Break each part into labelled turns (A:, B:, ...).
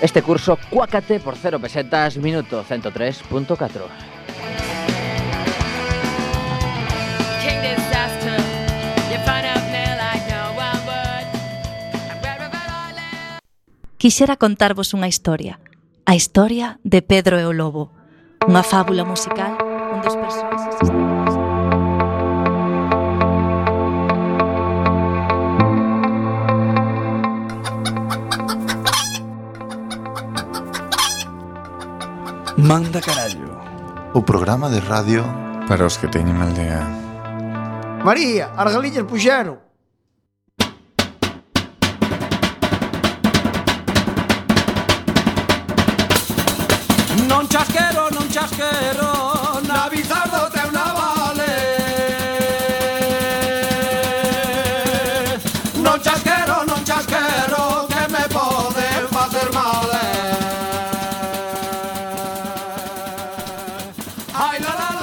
A: Este curso Cuácate por 0 pesetas, minuto 103.4.
B: Quixera contarvos unha historia, a historia de Pedro e o Lobo, unha fábula musical un dos personaxes
C: Manda carallo
D: O programa de radio
E: Para os que teñen mal día
F: María, as galiñas puxeron
G: Non chasquero, non chasquero Na bizardo teu navale Non chasquero, non chasquero Que me poden facer mal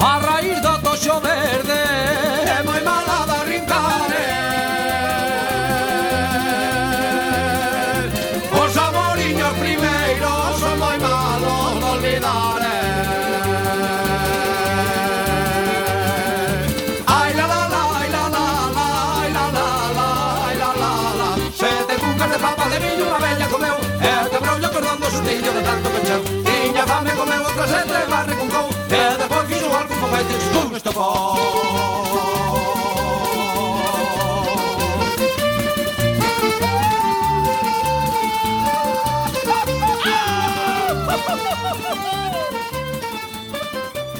G: A raíz do toxo verde É moi mala da eh. rincare Os amoriños primeiros Son moi malos de olvidar eh. Ai la la la, ai la la la Ai la la la, ai la la la Sete cucas de papa de miño Unha bella comeu E te brollo cordando sustillo de tanto pencheu Tiña fame comeu outra sete Barre con cou E depois fixo algo con fetes Pum, estopou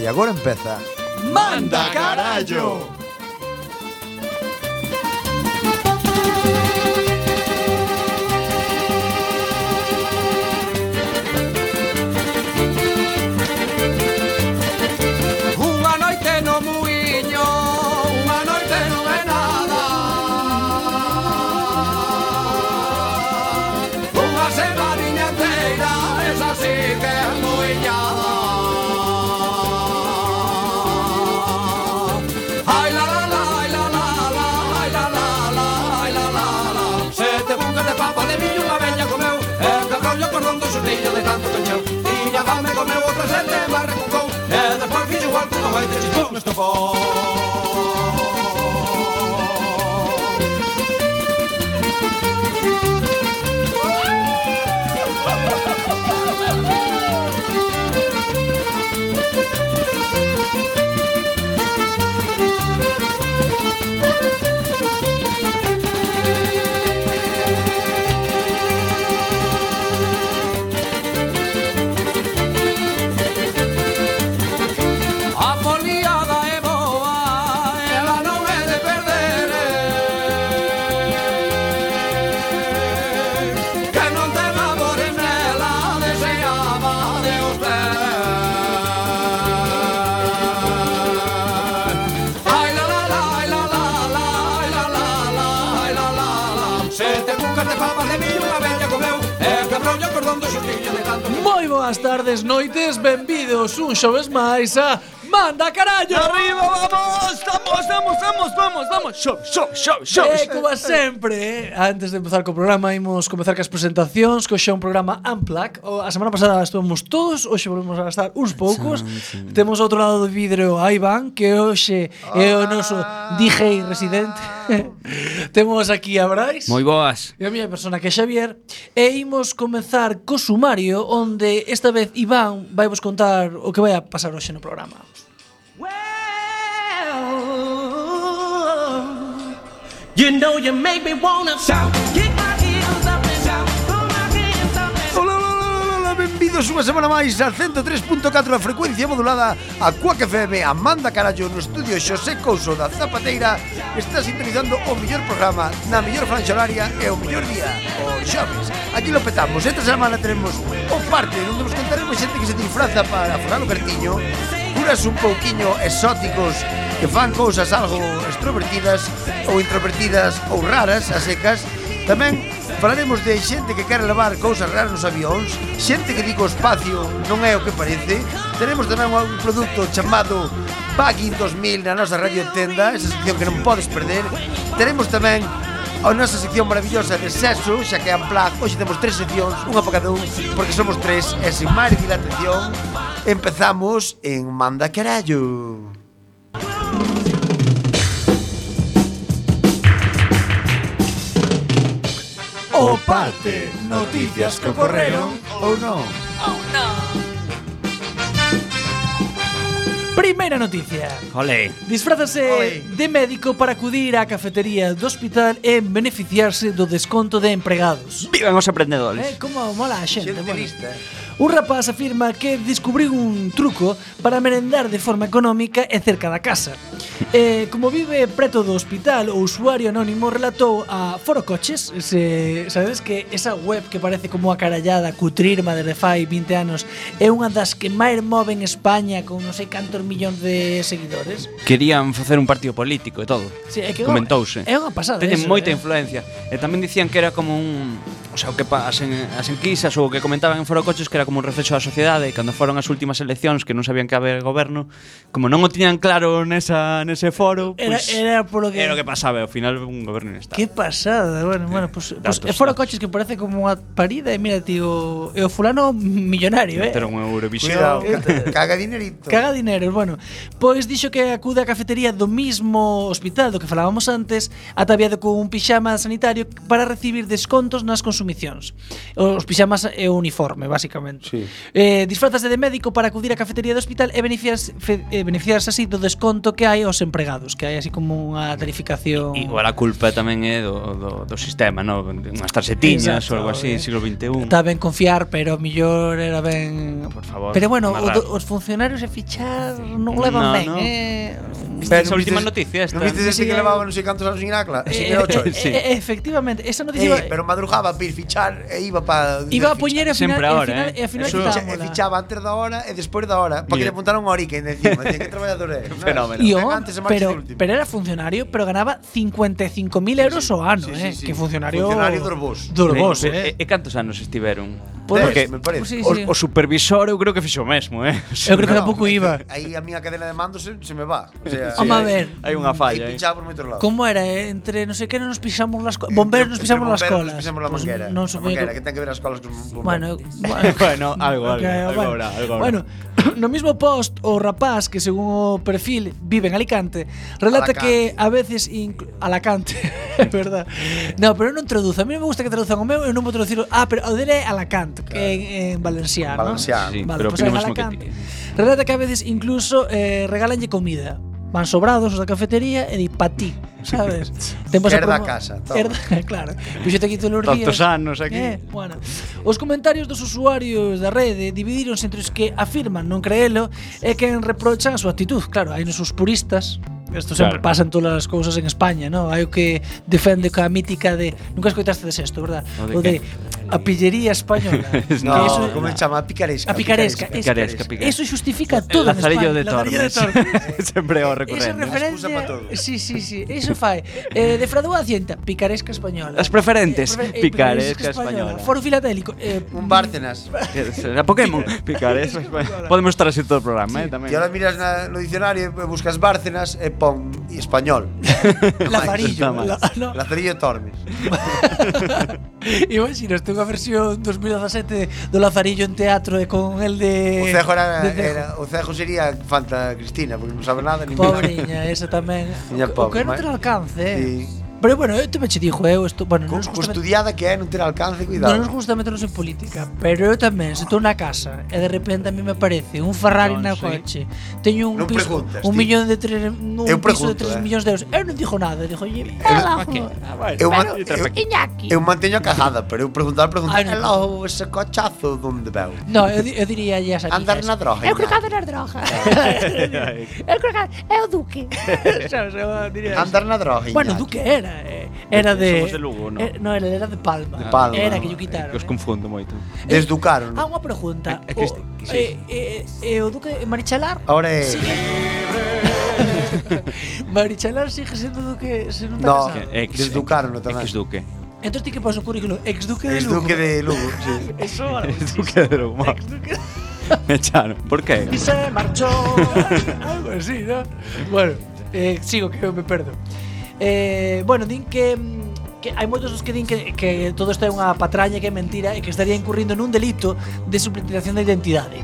C: E agora empeza
G: Manda carallo Unha noite no muiño Unha noite non é nada Unha semaninha inteira Esa sí que é muiñada Ai la la la, ai la la la, ai la la la, ai la la la. Sete bucas de papa de millo unha bella comeu, e de rollo con rondo sortillo de tanto cancheu. Tiña fame comeu outra sete, mas recucou, e despois fixo igual que non vai ter chispou no estofón. A foliada é boa, ela non é de perder eh. Que non te namores nela, deseaba de os ter Ai la la la, ai la la la, ai la la la, ai la la la Sete cucas de papas de millo, unha bella comeu E quebrou o cordón do xurtillo de tanto
H: Moi boas tardes, noites, benvidos un xoves máis a Manda carallo!
I: Arriba, vamos, vamos, vamos, vamos, vamos, vamos. Show, show, show, show.
G: eh,
H: E como sempre, eh, antes de empezar co programa, imos comezar cas presentacións, que hoxe é un programa Unplug. O, a semana pasada estuvemos todos, hoxe volvemos a gastar uns poucos. Temos outro lado do vidro a Iván, que hoxe é o noso DJ residente. Temos aquí a Brais.
I: Moi boas.
H: E a miña persona que é Xavier E imos comezar co sumario Onde esta vez Iván vai vos contar O que vai a pasar hoxe no programa
G: You know you make me wanna shout.
I: Kick my heels up and shout. Put my hands up and
C: Ola, ola, ola, ola, benvidos
F: Benvidos unha semana máis a 103.4 da frecuencia modulada a Cuac FM Amanda Carallo no estudio Xosé Couso da Zapateira está sintonizando o mellor programa na mellor franxa horaria e o mellor día o xoves aquí lo petamos esta semana tenemos o parte onde nos contaremos xente que se disfraza para aforar o cartiño curas un pouquiño exóticos que fan cousas algo extrovertidas ou introvertidas ou raras a secas Tamén falaremos de xente que quere levar cousas raras nos avións, xente que di que o espacio non é o que parece. Teremos tamén un produto chamado Bagging 2000 na nosa radio tenda, esa sección que non podes perder. Teremos tamén a nosa sección maravillosa de sexo, xa que é Unplugged. Hoxe temos tres seccións, unha para cada un, porque somos tres, e sin máis dilatación, empezamos en Manda Carallo. O parte, noticias que ocorreron ou non.
H: Primeira noticia.
I: Ole.
H: Disfrázase de médico para acudir á cafetería do hospital e beneficiarse do desconto de empregados.
I: Vivan os aprendedores.
H: Eh, como mola a xente,
F: Xente
H: mola.
F: lista.
H: Un rapaz afirma que descubriu un truco para merendar de forma económica e cerca da casa. Eh, como vive preto do hospital, o usuario anónimo relatou a Foro Coches, se, sabedes que esa web que parece como acarallada, cutrirma desde fai 20 anos, é unha das que máis move en España con non sei cantos millóns de seguidores.
I: Querían facer un partido político e todo.
H: Sí, é que é unha-
I: Comentouse.
H: É unha pasada.
I: Teñen
H: eso,
I: moita
H: eh.
I: influencia. E tamén dicían que era como un O sea, o que pa- as, en, as enquisas ou o que comentaban en Foro Coches que era como un reflexo da sociedade e cando foron as últimas eleccións que non sabían que haber goberno como non o tiñan claro nesa, nese foro
H: Era,
I: pues,
H: era polo que...
I: Pois era o que pasaba ao final un goberno inestable
H: Qué pasada, bueno, bueno, pues, pues
I: datos,
H: e fora
I: datos.
H: coches que parece como unha parida e mira, tío, e o fulano millonario, eh.
I: Era un Eurovisión
F: Cuidado, ca- caga dinerito.
H: Caga dinero, bueno. Pois dixo que acude á cafetería do mismo hospital do que falábamos antes, ataviado con un pixama sanitario para recibir descontos nas consumicións. Os pixamas é o uniforme, basicamente.
C: Sí.
H: Eh, disfrazase de médico para acudir á cafetería do hospital e beneficiarse, fe- eh, beneficiarse así do desconto que hai aos empregados, que hai así como unha tarificación.
I: Igual a culpa tamén é do, do, do sistema, no? Unhas tarxetiñas ou
H: Exacto,
I: algo así,
H: eh.
I: siglo XXI.
H: Está ben confiar, pero mellor era ben...
I: Por favor,
H: Pero bueno,
I: máis
H: o do-
I: raro.
H: os funcionarios a fichar non levan
I: No,
H: ben,
I: no.
H: eh?
I: Pero esa última noticia esta.
F: Non vistes ese que levaba non sei cantos anos sin acla? Sin eh, ocho.
H: eh, eh, eh, efectivamente, esa noticia
F: Eh,
H: iba,
F: pero madrugaba para ir fichar e iba para
H: iba a poñer e ao final,
I: Sempre
H: e ao
I: ahora,
H: final,
I: eh.
H: e ao final
I: Eso-
F: e
H: quitámola.
F: fichaba antes da hora e despois da hora, para que
I: Mira.
F: le apuntaron a Orique encima, tiña que traballador é.
I: fenómeno.
H: E o-
F: antes e marcha
H: pero,
F: de último.
H: pero era funcionario, pero ganaba 55.000 euros o ano,
F: sí, sí,
H: eh?
F: sí.
H: Que funcionario...
F: Funcionario dos vos.
H: Dos vos,
I: e,
H: eh?
I: e cantos anos estiveron?
F: Dez,
H: Porque-
F: me parece.
H: Sí,
I: O, o supervisor eu creo que fixo o mesmo, eh?
H: Eu creo que
F: No,
H: tampouco
F: é que
H: iba.
F: Aí a miña cadena de mando se, se me va. O sea,
H: Vamos a ver.
I: Hai unha
F: Falla,
I: falla, eh?
F: pinchaba por moitos lados.
H: Como era? eh? Entre non sei que nos pisamos las co- Bomberos nos
F: Entre
H: pisamos las
F: bomberos
H: colas. Pues
F: Nos pisamos la
H: Pois
F: manguera.
H: non
F: a
H: supoño
F: manguera,
H: que-
F: que ten que ver as colas con bomberos.
H: Bueno,
I: Bueno, algo, algo,
H: Ok,
I: algo habrá, algo habrá.
H: bueno, no mismo post o rapaz que según o perfil vive en Alicante relata
F: Alacante.
H: que a veces inclu- Alacante, é verdad. No, pero eu non traduzo. A mí non me gusta que traduzan o meu, eu non vou traducir. o- Ah, pero o dele é Alacante, que é en, en valenciano.
F: Valenciano.
I: Sí,
H: Vale,
I: pero
H: pois
I: opino
H: en
I: mesmo que
H: Alacante.
I: ti.
H: Relata que a veces incluso eh, regalanlle comida. Van sobrados os da cafetería e di pa ti, sabes? Tempos
F: Herda a casa, toma.
H: Herda, claro. Puxete aquí todos os días.
I: Tantos anos aquí.
H: Eh, bueno. Os comentarios dos usuarios da rede dividíronse entre os que afirman non creelo e que reprochan a súa actitud. Claro, hai nos os puristas, Isto sempre
I: Claro.
H: pasa en todas as cousas en España, non? Hai o que defende coa mítica de... Nunca escoitaste de sexto, verdad?
I: O de
H: O de,
I: que?
H: a pillería española. Que
F: No, eso, como se chama? A picaresca.
H: A picaresca,
I: picaresca,
H: es-
I: picaresca.
H: Eso justifica todo. en
I: lazarillo
H: España,
I: de
H: el lazarillo de
I: Tormes.
H: Tormes.
I: Sempre o
H: Esa
I: recurrente.
H: referencia.
F: excusa pa todo.
H: Sí, sí, sí. Eso fai. Eh, defraudou a cienta. Picaresca española.
I: As preferentes,
H: Prefe- eh,
I: picaresca española.
H: Foro filatélico. Eh,
F: Un Bárcenas.
I: A Pokémon, picaresca española. Podemos estar así todo o programa, eh, tamén.
F: E ahora miras na, no diccionario, e buscas Bárcenas e pon español.
H: Lazarillo.
I: Está
H: La, no,
F: Lazarillo e Tormes.
H: Imaginas, tengo unha versión 2017 do Lazarillo en teatro e con el de...
F: O Cejo era,
H: de Cejo.
F: era o Cejo sería Fanta Cristina, porque non sabe nada nin
H: Pobreña, esa tamén.
F: Tiña
H: O que- o que
F: pobre,
H: non
F: mai-
H: ten alcance, eh.
F: Sí.
H: Pero bueno, eu tamén che dixo, eu esto, bueno, non nos
F: Co
H: gusta met-
F: estudiada que é, non ter alcance, cuidado.
H: Non nos gusta meternos en política, pero eu tamén, se estou na casa e de repente a mí me aparece un Ferrari
I: Non
H: na
I: sei.
H: coche, teño un
F: Non
H: piso,
F: preguntas,
H: un
F: ti.
H: millón de tres, un
F: Eu
H: piso de
F: pregunto,
H: 3
F: eh.
H: millóns de euros. Eu non dixo nada, dixo, "Oye,
I: Ah,
F: eu, ma- eu, eu manteño a cajada, pero eu preguntar,
H: Ai,
F: preguntar,
H: non.
F: hello, ese cochazo, donde veu?
H: No, eu, di- eu diría a esas
F: Andar na droga.
J: Eu creo que
F: ainda.
J: andar na droga. eu creo que é o Duque.
H: Sabes, eu diría
F: Andar na droga. ainda.
H: Bueno, Duque era, eh, era de
I: Somos de Lugo, non?
H: eh, no, era, era de Palma.
F: De Palma.
H: Era que yo quitaron.
I: Que os
H: eh.
I: confundo moito.
F: Desducaron.
H: Ah, unha pregunta.
I: Aquí
H: O,
I: está, sí.
H: eh, eh, eh, o Duque Marichalar?
F: Ahora é...
H: Marichalar sigue sendo Duque, se non está
F: No,
H: casado.
I: Ex-
F: desducaron tamén.
I: Ex duque.
H: Entón ti que pasa o currículo? Ex Duque de
F: Ex
H: Lugo.
F: duque de Lugo, sí.
H: Eso,
I: Ex duque de Lugo.
H: Ex Duque.
I: Me echaron. ¿Por qué?
H: Y se marchó. Algo así, ¿no? Bueno, eh, sigo que me perdo. Eh, bueno, din que mm, que hai moitos dos que din que, que todo isto é unha patraña que é mentira e que estaría incurrindo nun delito de suplantación de identidade.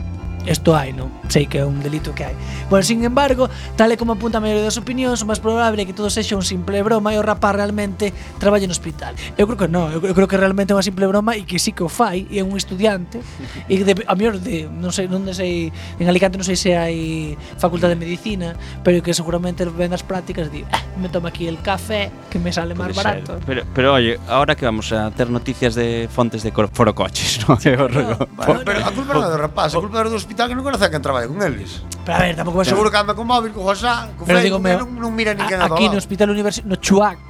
H: Isto hai, non? Sei que é un delito que hai. Bueno, sin embargo, tal e como apunta a maioría das opinións, o máis probable é que todo sexa un simple broma e o rapaz realmente traballe no hospital. Eu creo que non, eu eu creo que realmente é unha simple broma e que sí que o fai e é un estudiante e de, a mellor de, non sei, non sei, en Alicante non sei se hai facultade de medicina, pero que seguramente ven das prácticas e di, "Ah, me tomo aquí el café que me sale máis
I: Puede ser.
H: barato.
I: Pero, pero oye, ahora que vamos a tener noticias de fontes de cor- forocoches, ¿no? De Orrego.
F: Bueno, pero a culpa non é do rapaz, a culpa é do hospital que non conoce a quen traballa con eles.
H: Pero a ver, tampouco vas a
F: Seguro que anda con móvil, con Josá, con
H: Pero
F: Facebook,
H: digo, meu,
F: non, non mira
H: a-
F: ninguén a,
H: aquí no Hospital Universitario no Chuac,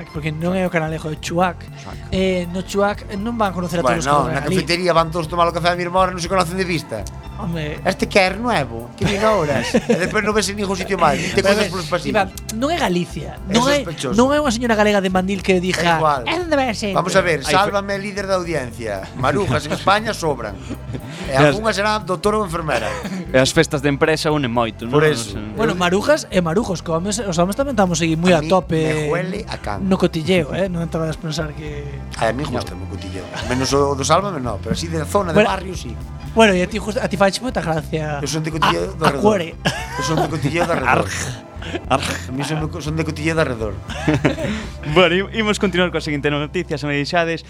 H: aquí- porque non é o canalejo de Chuac. Eh, no Chuac eh, non van a conocer a todos
F: Bueno,
H: os
F: no,
H: que
F: na
H: traballan ali.
F: cafetería van todos tomar o café a mi irmão, non se conocen de vista.
H: Home,
F: Este que é nuevo, que vino horas. e despois non ves en ningún sitio máis, te
H: Pero,
F: cruzas
H: eh,
F: polos
H: Iván,
F: pasillos.
H: non é Galicia,
F: É
H: non é,
F: sospechoso.
H: non é unha señora galega de Mandil que "Eh".
F: É
H: dixa
F: igual.
J: É onde vai ser.
F: Vamos a ver,
I: Ay,
F: sálvame líder da audiencia. Marujas en España sobran. E algunha será doutor ou enfermera.
I: E As festas de empresa unen moito, ¿no?
F: Por eso.
I: Non sei.
H: Bueno, marujas e marujos, que homes, os homes tamén estamos seguir moi
F: A
H: a,
F: mí
H: tope
F: me huele a can.
H: no cotilleo, eh? non te vas a pensar que...
F: Ai, a mí gusta o cotilleo. Menos o do sálvame, no, pero así de zona, de
H: Bueno,
F: barrio, sí.
H: Bueno, e a ti, just, a ti faxe moita gracia
F: Eu son de
H: a,
F: cotilleo de
H: a cuore.
F: Eu son de cotilleo de arredor. A mí son, de- son de cotilleo de arredor.
I: Bueno, i- imos continuar coa seguinte noticia, se me deixades.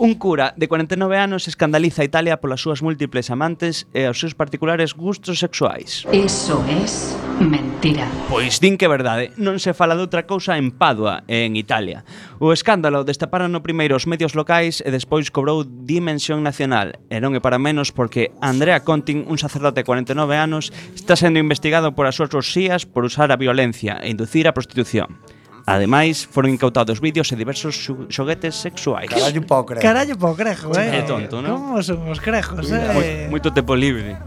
I: Un cura de 49 anos escandaliza a Italia polas súas múltiples amantes e aos seus particulares gustos sexuais.
K: Eso es mentira.
I: Pois din que é verdade, non se fala de outra cousa en Padua, en Italia. O escándalo destaparon no primeiro os medios locais e despois cobrou dimensión nacional. E non é para menos porque Andrea Contin, un sacerdote de 49 anos, está sendo investigado por as súas orxías por usar a violencia e inducir a prostitución. Ademais, foron incautados vídeos e diversos xu- xoguetes sexuais.
F: Carallo pau, creo.
H: Carallo po crejo, eh?
I: É tonto, non?
H: Como son os crejos,
I: Moi,
H: eh?
I: moito tempo libre.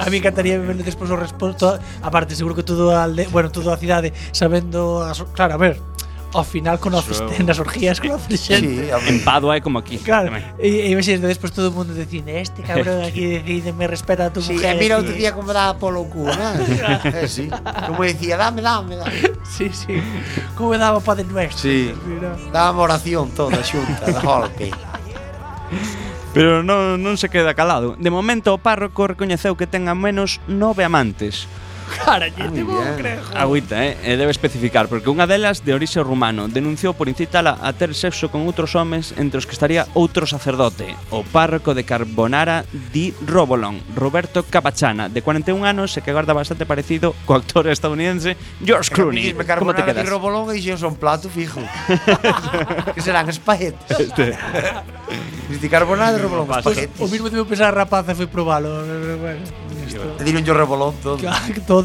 H: A mí encantaría ver despois o resposta Aparte, seguro que todo a alde, bueno, todo a cidade Sabendo, as, claro, a ver Ao final conoces
I: Eso.
H: nas orgías Conoces xente
F: Sí, a
I: En
F: mí.
I: Padua é como aquí.
H: Claro,
I: tamén.
H: e, e imagínate despois todo o mundo dicindo Este cabrón aquí decide me respeta a tu
F: Sí,
H: mujer
F: e mira outro
H: sí".
F: día como daba polo cu, ¿no? eh, sí. Como decía, dame, dame, dame.
H: Sí, sí Como me daba o padre nuestro
F: Sí.
H: Mira.
F: Dábamos oración toda xunta, de golpe.
I: Pero non, non se queda calado. De momento, o párroco recoñeceu que ten a menos nove amantes.
H: Cara, lle
F: Ah, Muy
H: tipo un
F: bien.
H: crejo
I: Agüita, eh? E debe especificar, porque unha delas de orixe rumano denunciou por incitala a ter sexo con outros homes entre os que estaría outro sacerdote, o párroco de Carbonara di Robolon, Roberto Capachana, de 41 anos e que guarda bastante parecido co actor estadounidense George Clooney.
F: Dime
I: Como te
F: carbonara
I: quedas?
F: e robolón e dixen son plato fijo. que serán espaguetes.
I: Este.
F: Dixen carbonara e robolón,
H: Pois,
F: espaguetes.
H: o Pues, mismo que me pensar a rapaza foi probalo pero bueno, isto.
F: E dixen yo robolón todo.
H: Claro, todo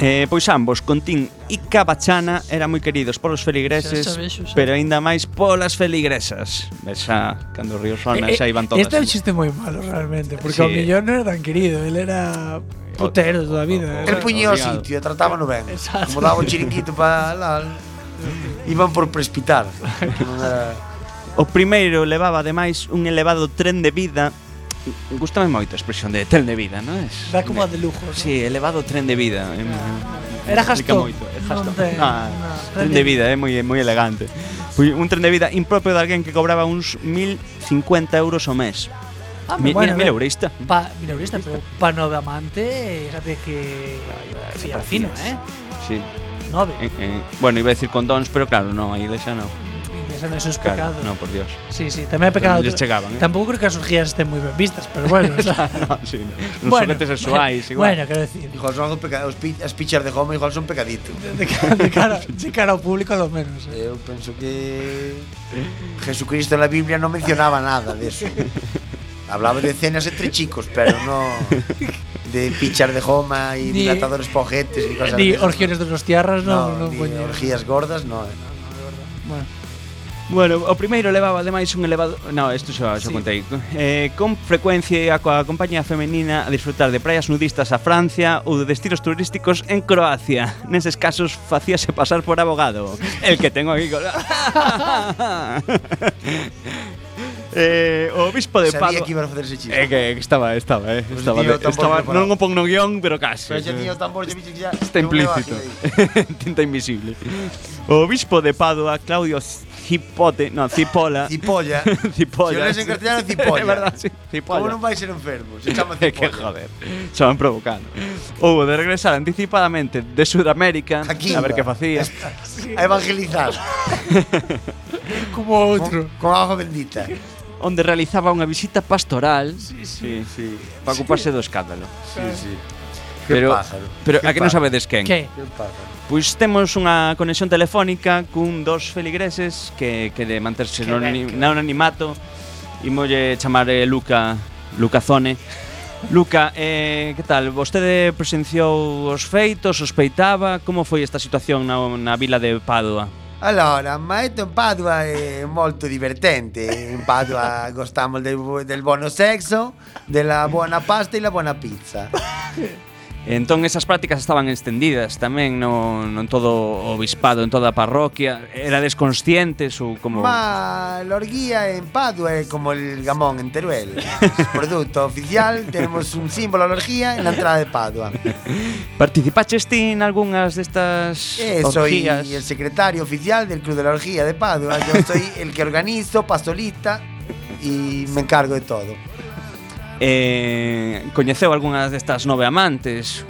I: Eh, pois ambos, Contín e Cabachana, eran moi queridos polos feligreses,
H: Xa sabes, Xuxa.
I: pero aínda máis polas feligresas. Ves xa, cando o río sona, xa iban todas.
H: Este é un chiste moi malo realmente, porque
I: Sí.
H: o Millón non era tan querido, él era putero toda a vida.
F: El
H: era-
F: puñía o
I: Obligado.
F: sitio e tratábano ben.
H: Exacto.
F: Como daba o chiringuito para lá. Iban por prespitar. Non era-
I: O primeiro levaba ademais un elevado tren de vida. Gústame moito a expresión de tren de vida, non es?
H: Dá como a de lujo. ¿no?
I: Sí, elevado tren de vida. em,
H: Era
I: explica
H: Gastón.
I: moito, é Gastón.
H: Non ten-
I: Ah,
H: non,
I: tren de vida, é moi moi elegante. Foi un tren de vida impropio de alguén que cobraba uns 1050 euros o mes.
H: Ah,
I: Mi,
H: bueno,
I: mira, mira,
H: eh.
I: eurista.
H: Pa, mira, ahorita, pero pa no de amante, fíjate que. Fíjate fino, ¿eh?
I: Sí.
H: Nove.
I: Eh, eh, bueno, iba a decir condóns, pero claro, no, a iglesia no.
H: Iglesia no, eso es
I: Claro,
H: pecado.
I: No, por Dios.
H: Sí, sí, tamén é pecado.
I: Non lles chegaban, eh.
H: Tampouco creo que as orgías estén moi ben vistas, pero bueno, o sea,
I: no, sí, no. Nos
H: Bueno,
I: juguetes sexuais,
H: bueno,
I: igual.
H: bueno, quero decir,
F: Igual son algo peca- os pi- as pichas de Homer igual son pecadito.
H: de cara, de cara, de cara ao público lo menos. Eh.
F: Eu penso que Jesucristo en la Biblia no mencionaba nada de eso. Hablaba de cenas entre chicos, pero no de pichar de joma y
H: Ni-
F: dilatadores pojetes y cosas
H: Ni
F: de esas,
H: orgiones de los tiarras,
F: no,
H: no, no,
F: ni
H: poñía.
F: orgías gordas, no. eh.
H: Bueno,
I: Bueno, o primeiro levaba ademais un elevado No, isto xa, xa
H: Sí.
I: sí. contei eh, Con frecuencia a coa compañía femenina A disfrutar de praias nudistas a Francia Ou de destinos turísticos en Croacia Neses casos facíase pasar por abogado El que tengo aquí con... eh, O obispo de
F: Sabía
I: Padua
F: que iban a hacer ese chiste.
I: É que estaba, estaba, eh.
F: Pues
I: estaba, de,
F: tío, tampouco
I: estaba
F: preparado.
I: non o pon no guión, pero casi.
F: Pero ya tenía tambor, ya viste que ya-
I: Ah, Está
F: yo me lo
I: implícito.
F: bajé
I: Tinta invisible. O obispo de Padua, Claudio Cipote, no, Cipola.
F: ahí. Cipolla.
I: Cipolla.
F: Si lo lees en castellano, cipolla.
I: É verdad, sí, cipolla.
F: ¿Cómo no vais a ser enfermos? Se llama
I: É que
F: cipolla.
I: joder, se van provocando. Hubo de regresar anticipadamente de Sudamérica
F: Aquí
I: a ver
F: iba.
I: qué facía.
F: A evangelizar.
H: como outro.
F: Con, con agua bendita.
I: Onde realizaba unha visita pastoral sí, sí. Sí, para ocuparse do escándalo.
F: Sí, sí. Qué
I: Pero,
F: pájaro.
I: pero a
F: Qué
I: que non
F: pájaro.
I: sabedes quen?
H: Que?
F: Qué pájaro.
I: Pois temos unha conexión telefónica cun dos feligreses que, que de manterse
H: Que
I: non,
H: ben,
I: ani-
H: que
I: non animato Imolle chamar eh, Luca Lucazone Luca, eh, que tal? Vostede presenciou os feitos, sospeitaba Como foi esta situación na, na vila de Padua?
F: Allora, maestro in Padua è molto divertente. In Padua gostiamo del, bu- del buono sesso, della buona pasta e la buona pizza.
I: Entón esas prácticas estaban extendidas tamén no, non todo o bispado, en toda a parroquia Erades conscientes ou como...
F: Ma l'orghia in Padua è come il gamon in Teruel. Prodotto ufficiale, tenemos un simbolo all'orghia en la entrada de Padua.
I: Participaches ti en algunhas destas
F: Eh, soy
I: orgías?
F: el secretario oficial del Club de la Orgía de Padua. Yo soy el que organizo, pasolista y me encargo de todo.
I: eh, coñeceu algunhas destas nove amantes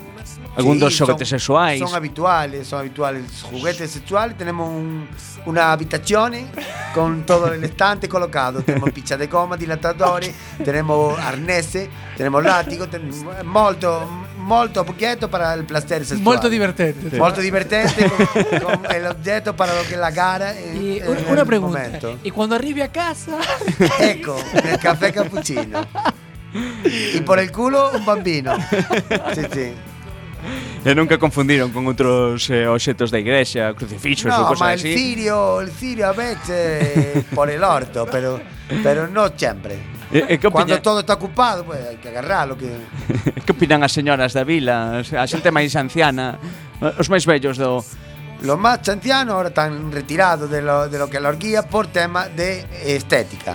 I: algún
F: Sí,
I: dos xoguetes
F: son-
I: sexuais
F: Son habituales, son habituales juguetes sexuales. Tenemos un- una habitación ¿eh? con todo el estante colocado. Tenemos pichas de goma, dilatadores, tenemos arneses, tenemos látigo, tenemos molto, molto objeto para el placer sexual.
H: Molto divertente.
F: Molto divertente con, con el objeto para lo que la cara
H: Y
F: en-
H: un-
F: en
H: una
F: el
H: pregunta.
F: momento.
H: Y cuando arribe a casa,
F: Ecco, el café cappuccino. Y por el culo un bambino. Sí, sí.
I: E nunca confundiron con outros eh, obxetos da igrexa, crucifixos ou
F: No, ma
I: cosas
F: el
I: así.
F: cirio, el cirio a veces por el orto, pero, pero no siempre.
I: E, e que,
F: Cuando
I: opiña,
F: todo está ocupado, pues hay que agarrarlo. Que...
I: que opinan as señoras da vila, as- a xente máis anciana, os máis vellos do
F: Los más ancianos ahora están retirados de lo, de lo que es la orgía por tema de estética.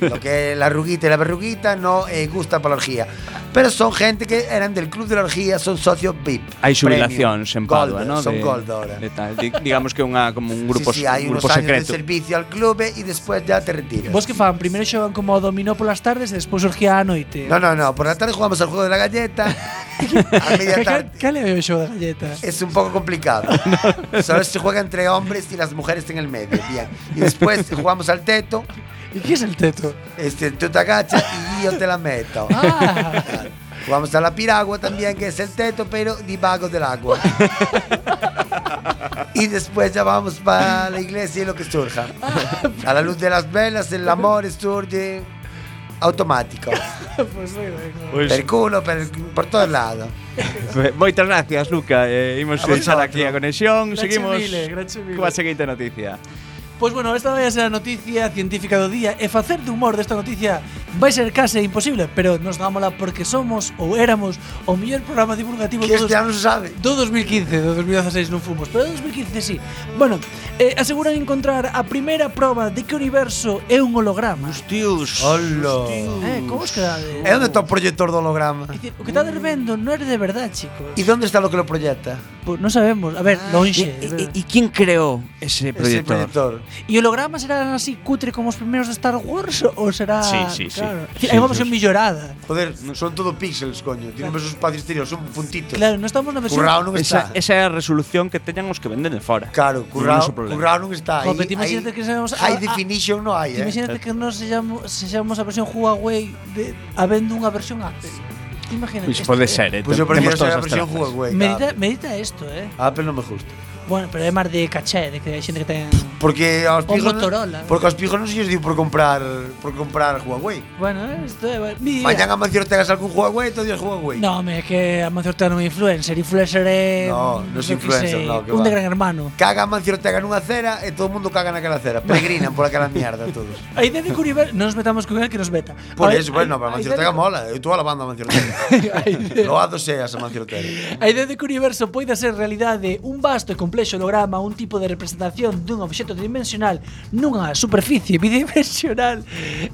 F: Lo que es la ruguita y la verruguita no eh, gusta para la orgía. Pero son gente que eran del club de la orgía, son socios VIP.
I: hai
F: premium,
I: xubilacións en
F: gold,
I: Padua, no?
F: Son
I: de,
F: gold ahora.
I: De tal, di, digamos que unha como un grupo,
F: sí, sí, hay
I: grupo
F: unos
I: Pues,
F: años de
I: secreto.
F: servicio al club eh, y después ya te retiras.
H: vos que fan, primeiro xogan como ao dominó polas tardes e despois orgía á noite.
F: No, no, no. Por la tarde jugamos al juego de la galleta. a media
H: Cal,
F: tarde.
H: cal é o xogo da galleta?
F: Es un poco complicado. Solo se juega entre hombres y las mujeres en el medio. Bien. Y después jugamos al teto.
H: E que é el teto?
F: Este, tú te agachas y yo te la meto.
H: Ah,
F: Jugamos a la piragua también, que es el teto, pero de vago del agua. y después ya vamos para la iglesia y lo que surja. A la luz de las velas, el amor surge automático.
H: pois moi ben.
I: Pois,
F: Per culo, per, por todos lados.
I: Moitas gracias, Luca. Eh, imos
F: A
I: deixar
F: vosotros.
I: aquí a conexión.
H: Grazie
I: Seguimos
H: mille, grazie mille.
I: coa seguinte noticia.
H: Pois bueno, esta vai a ser a noticia científica do día e facer de humor desta noticia vai ser case imposible, pero nos dámola porque somos ou éramos o mellor programa divulgativo
F: Que
H: do
F: este año se sabe.
H: Do 2015, do 2016 non fomos, pero do 2015 sí. Bueno, eh, aseguran encontrar a primeira proba de que o universo é un holograma.
I: Hostios.
F: Hola.
H: Eh, como os quedades?
F: ¿Y dónde está el proyector de holograma?
H: Dicir, O que estades vendo non é de verdade, chico.
F: ¿Y dónde está lo que lo proyecta?
H: Pois non sabemos, a ver,
I: E,
H: lonxe.
I: e, e quién creou ese
F: Ese
I: proyector?
F: proyector.
H: E hologramas serán así cutre como os primeiros de Star Wars ou será
I: Sí, sí, sí.
H: claro. Hai unha versión millorada.
F: Joder, son todo píxeles, coño. Tienen esos espacios exteriores, son puntitos.
H: Claro, non estamos na versión.
F: Currao non
I: Esa,
F: está.
I: esa é a resolución que teñan os que venden de fora. Non é
F: Claro,
I: o
F: currao,
I: seu problema.
F: currao non está.
H: Jope,
F: Ahí,
H: te imagínate
F: ahí-
H: que seamos- ah,
F: High
H: ah,
F: definition non hai, eh.
H: Imagínate que nos sexamos, sexamos a versión Huawei de, habendo unha versión Apple. Imagínate.
I: Pois
H: isto,
I: pode
H: eh.
I: ser, eh.
F: Pues yo
I: temos
F: prefiero ser
I: todas
F: la
I: as
F: versión
I: trampas.
F: Huawei.
H: Medita,
F: Apple.
H: medita esto, eh.
F: Apple non me gusta.
H: Bueno, pero é máis de caché, de que hai xente que ten...
F: Porque aos
H: O
F: pijos,
H: Motorola.
F: porque aos pijos non se lles dio por comprar por comprar Huawei.
H: Bueno, eh, isto é... bueno. Mira.
F: Mañana Mancio Ortega saca un Huawei, todo Dios Huawei.
H: No, me é que Amancio Ortega non é influencer. Influencer é...
F: No, non é
H: yo que sei,
F: influencer, no, que
H: Un de
F: va.
H: gran hermano.
F: Caga Mancio Ortega nunha cera e todo o mundo caga naquela cera. Peregrinan por aquela mierda todos.
H: A idea de Curiver, non nos metamos con el que nos meta. A-
F: Por eso, bueno,
H: a-
F: para
H: a
F: Mancio
H: idea de-
F: Ortega mola. Eu estou alabando a
H: A
F: Mancio
H: idea-
F: Ortega. Loado seas a Mancio Ortega.
H: A idea de que o universo poida ser realidade un vasto e complexo holograma, un tipo de representación dun obxecto tridimensional nunha superficie bidimensional,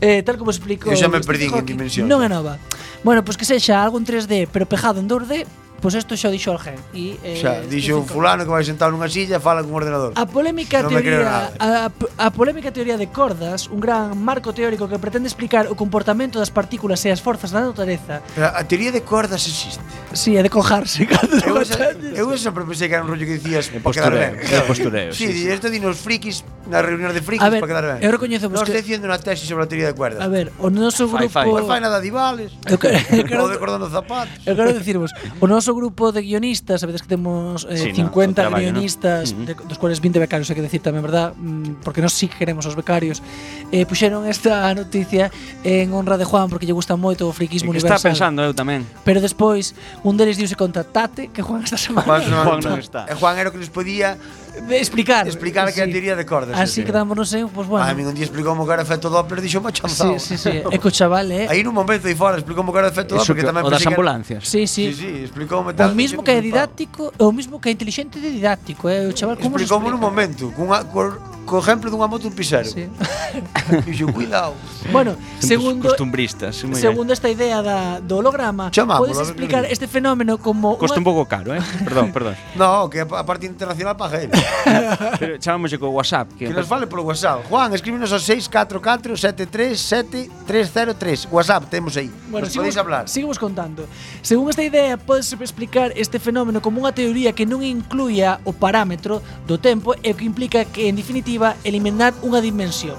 H: eh, tal como explicou...
F: Eu xa me
H: Stephen
F: perdín en
H: Hawking,
F: dimensións.
H: Non é nova. Bueno, pois que sexa algo en 3D, pero pejado en 2D, pois isto xa o dixo alguén. E,
F: O
H: eh,
F: sea, dixo
H: Stephen
F: un
H: Hawking.
F: fulano que vai sentado nunha silla e fala cun ordenador.
H: A polémica
F: Non me creo
H: teoría
F: nada.
H: a, a polémica teoría de cordas, un gran marco teórico que pretende explicar o comportamento das partículas e as forzas da natureza.
F: Pero A teoría de cordas existe.
H: Si, é de cojarse cando
F: Eu, esa,
H: batallas.
F: eu sempre pensei que era un rollo que dicías para quedar
I: postureo,
F: ben.
I: é
F: ¿sabes?
I: postureo,
F: Sí,
I: sí,
F: sí,
I: sí.
F: esto dinos frikis na reunión de frikis
H: A ver,
F: para quedar ben.
H: eu recoñezo, pues,
F: Nos
H: que-
F: diciendo unha tesi sobre a teoría de cuerdas.
H: A ver, o noso
I: Fai,
H: grupo
I: fai.
F: Non fai nada de Ibales.
H: Eu quero- eu quero-
F: Ou de cordón dos zapatos.
H: Eu quero dicirvos, o noso grupo de guionistas, sabedes que temos eh,
I: Sí, no, o
H: 50
I: traballo,
H: guionistas,
I: no?
H: de, dos cuales 20 becarios, hai que decir tamén, verdad? Mm, Porque nós sí que queremos os becarios. Eh, puxeron esta noticia en honra de Juan porque lle gusta moito o
I: É
H: friquismo
I: que Está
H: universal.
I: pensando eu tamén.
H: Pero despois, un deles diuse contactate que Juan esta semana
F: Juan,
I: Juan non
F: non,
I: está.
F: E Juan era o que les podía
H: de explicar.
F: explicar que a
H: sí.
F: teoría de cordas.
H: Así
F: sí.
H: quedámonos en, pues bueno.
F: A mí un día explicou como que era efecto Doppler e dixo má chanzao.
H: sí, sí, sí. Eco chaval, eh.
F: Aí nun momento aí fora explicou como que era efecto
I: Eso
F: Doppler
I: que,
F: que tamén
I: o das
F: pensei que era-
I: ambulancias.
H: Sí, sí.
F: Sí, sí, explicou
H: O mismo que é didáctico, o mismo que é inteligente de didáctico, eh. O chaval como se
F: Explicou nun
H: explica?
F: momento, cunha, co, co exemplo dunha moto un pisero.
H: Sí.
F: Dixo, cuidado.
H: Bueno,
I: Sempre
H: segundo
I: costumbristas, sí, moi ben.
H: segundo esta idea da, do holograma,
F: Chamámolo,
H: podes
F: a ver
H: explicar
F: que dice.
H: este fenómeno como
I: Costa un
H: unha-
I: pouco caro, eh? Perdón, perdón.
F: No, que a parte internacional paga él.
I: Pero chámamoslle co WhatsApp, que,
F: Que nos vale polo WhatsApp. Juan, escríbenos ao 644-737-303. WhatsApp, temos aí.
H: Bueno,
F: nos podéis hablar.
H: Sigamos contando. Según esta idea, podes explicar este fenómeno como unha teoría que non incluía o parámetro do tempo e que implica que, en definitiva, eliminar unha dimensión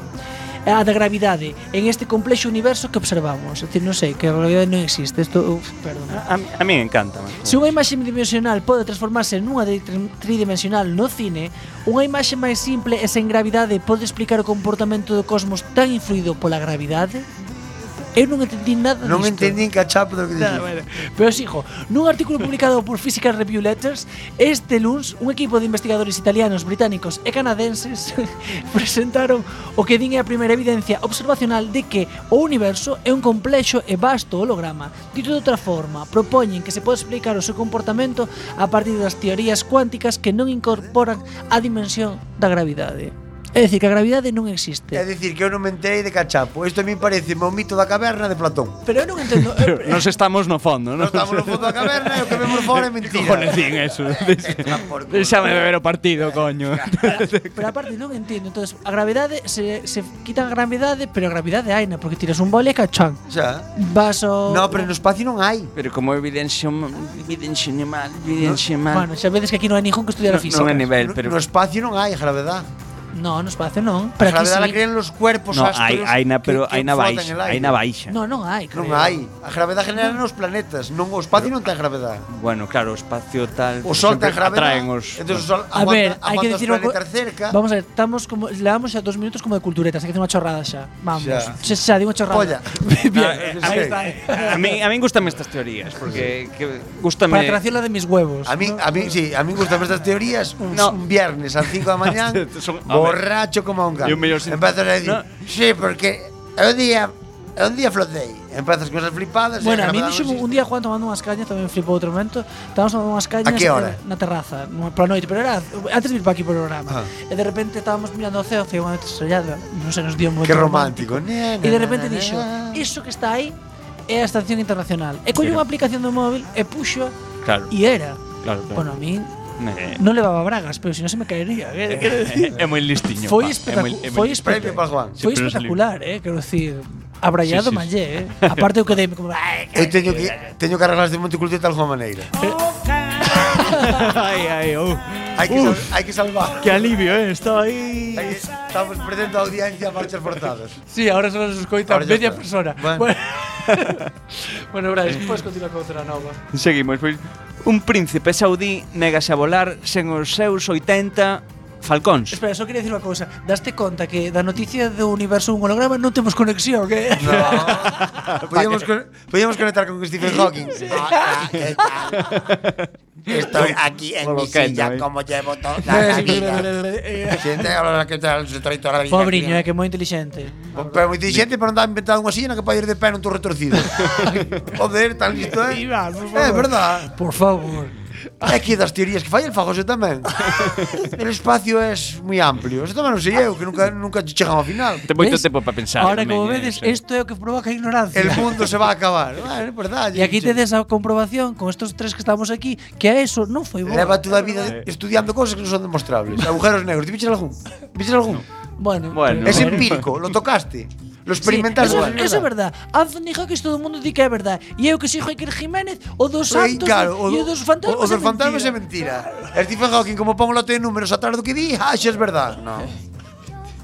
H: a da gravidade en este complexo universo que observamos. É dicir, non sei, que a gravidade non existe. Isto, uf, perdón.
I: A, mí- a mí encanta.
H: Se unha imaxe bidimensional pode transformarse nunha de- tri- tridimensional no cine, unha imaxe máis simple e sen gravidade pode explicar o comportamento do cosmos tan influído pola gravidade? Eu non entendí nada
F: Non
H: disto.
F: entendín cachapo do que
H: Nada,
F: dixo.
H: bueno. Pero sigo, nun artículo publicado por Physical Review Letters, este luns un equipo de investigadores italianos, británicos e canadenses presentaron o que din é a primeira evidencia observacional de que o universo é un complexo e vasto holograma. Dito de outra forma, propoñen que se pode explicar o seu comportamento a partir das teorías cuánticas que non incorporan a dimensión da gravidade. É dicir, que a gravidade non existe.
F: É dicir, que eu non me enterei de cachapo. Isto a mí parece o mito da caverna de Platón.
H: Pero eu non entendo... eu-
I: Nos estamos no fondo,
F: Nós estamos no fondo da caverna e o que vemos fora é mentira.
I: Cojones din eso. Deixame beber o partido, coño.
H: Pero aparte non entendo, entonces a gravidade se, se quita a gravidade, pero a gravidade hai na, porque tiras un boli e cachán.
F: Xa.
H: Vas ao
F: No, pero no espacio non hai.
I: Pero como evidencia evidencia mal, evidencia
H: Bueno, xa vedes que aquí non hai ningún que estudiar
I: Non-
H: a física.
I: non é nivel,
F: No,
I: pero
F: no espacio non hai gravedad.
H: No, no espacio non,
F: A
H: pero aquí
F: gravedad
H: sí.
F: la crean los cuerpos
I: no,
F: astros.
I: hai hai na
F: que-
I: pero
F: que
I: hai na
F: flotan
I: baixa,
F: en el
I: hai
F: aire.
I: na baixa.
H: No, non hai, creo.
F: Non hai. A gravedad genera nos planetas, non o espacio non ten gravedad.
I: Bueno, claro, o espacio tal
F: O sol ten
I: sempre
F: gravedad.
I: atraen os
F: Entonces o sol
H: A
F: aguanta,
H: ver, hai
F: aguanta
H: que
F: os
H: decir unha co-
F: planetas cerca.
H: Vamos a ver, estamos como levamos xa dos minutos como de culturetas, hai que hacer unha chorrada xa. Vamos.
F: Xa.
H: Xa, xa digo chorrada.
F: Polla.
H: Bien.
I: Ah,
F: Ahí
I: eh,
F: está.
I: A mí a mí gustame estas teorías porque que gustame
H: Para traciarla de mis huevos.
F: A mí,
H: ¿no?
F: a mí, sí, a mí me gustan estas teorías un,
I: No. Este,
F: un viernes a las 5 de la mañana,
I: Son- a ver.
F: borracho como un gato.
I: Y un millón sin-
F: Empiezas a decir,
I: No.
F: sí, porque un día, un día flotei. Empiezas con esas flipadas.
H: Bueno, a mí
F: dixo
H: dixo un día Juan tomando unhas cañas, tamén flipou outro momento. Estábamos tomando unhas cañas
F: A que hora?
H: na terraza, nunha- pola noite, pero era antes de vir para aquí pro
F: Ah.
H: programa. E de repente estábamos mirando o ceo, ceo unha noite estrellada, non sei, nos dio un momento
F: Qué romántico.
H: E de repente dixo, iso que está aí é a estación internacional. E colle unha aplicación do móvil e puxo
I: Claro,
H: e era.
I: claro, claro.
H: Bueno, a mí
I: Eh,
H: non levaba bragas, pero se non se me caería. que- que-
I: é moi Eh, listiño.
H: Foi
I: pa, é moi-
H: espectacular.
I: é moi
H: Foi
I: listiño.
F: Premio
H: espectacular.
F: para Juan.
I: Sí,
H: Foi
I: pero es
H: espectacular, eh, quero dicir. abraiado sí, sí. mallé, eh. Aparte eu quedei como
F: Eu teño que teño que arreglarse de Monteculto de tal unha maneira.
I: ay, ay, oh.
F: Hai que, sal, hai que salvar.
I: Qué alivio, eh. Estaba ahí.
F: Hai que- Estamos perdendo a audiencia a marchas forzadas.
H: Sí, ahora solo nos escoita
F: Ahora ya
H: media
F: está.
H: persona.
F: Bueno.
H: Bueno, bueno Brais, podes continuar con outra nova.
I: Seguimos, pois. Un príncipe saudí negase a volar sen os seus 80 falcóns.
H: Espera, só quería dicir unha cousa. Daste conta que da noticia do universo un holograma non temos conexión, que?
F: No. Podíamos, con- podíamos conectar con Stephen Hawking. Ah, ah, eh, ah. Estoy aquí en mi
I: Colocando
F: silla
I: ahí.
F: como llevo toda la vida.
H: Eh,
F: Xente, ahora que tal, se traito a la vida.
H: Pobriño, é eh, que é moi inteligente.
F: Pero moi inteligente para non dar inventado unha silla na que para ir de pé nun tú retorcido. Joder, tan listo, eh?
H: Iván, por
F: É
H: favor.
F: verdad.
H: Por favor.
F: É que das teorías que fai el Fagose tamén. El espacio é moi amplio. Eso tamén non sei eu, que nunca, nunca chegan ao final.
I: Ten moito
H: ¿Ves?
I: tempo para pensar.
H: Ahora,
I: tamén,
H: como
I: eh,
H: vedes,
I: sí.
H: isto é o que provoca a ignorancia.
F: El mundo se va a acabar. Bueno, é verdade.
H: E aquí
F: che-
H: tedes a comprobación con estos tres que estamos aquí que a eso non foi bo.
F: Leva toda a vida Eh, estudiando cosas que non son demostrables. Agujeros negros, ti viches algún? Viches algún?
H: Bueno,
I: Bueno.
F: Es empírico, lo tocaste. Lo
H: Sí,
F: experimentaste.
H: eso, eso é verdad. Anthony Hawkins todo o mundo di que é verdad. E eu que sixo Iker Jiménez, o dos
F: Aí,
H: santos
F: claro,
H: e o dos fantasmas
F: o
H: é
F: dos fantasmas é
H: mentira.
F: mentira. E Stephen Hawking, como pon un lote de números atrás do que di, ah, xa es verdad. No.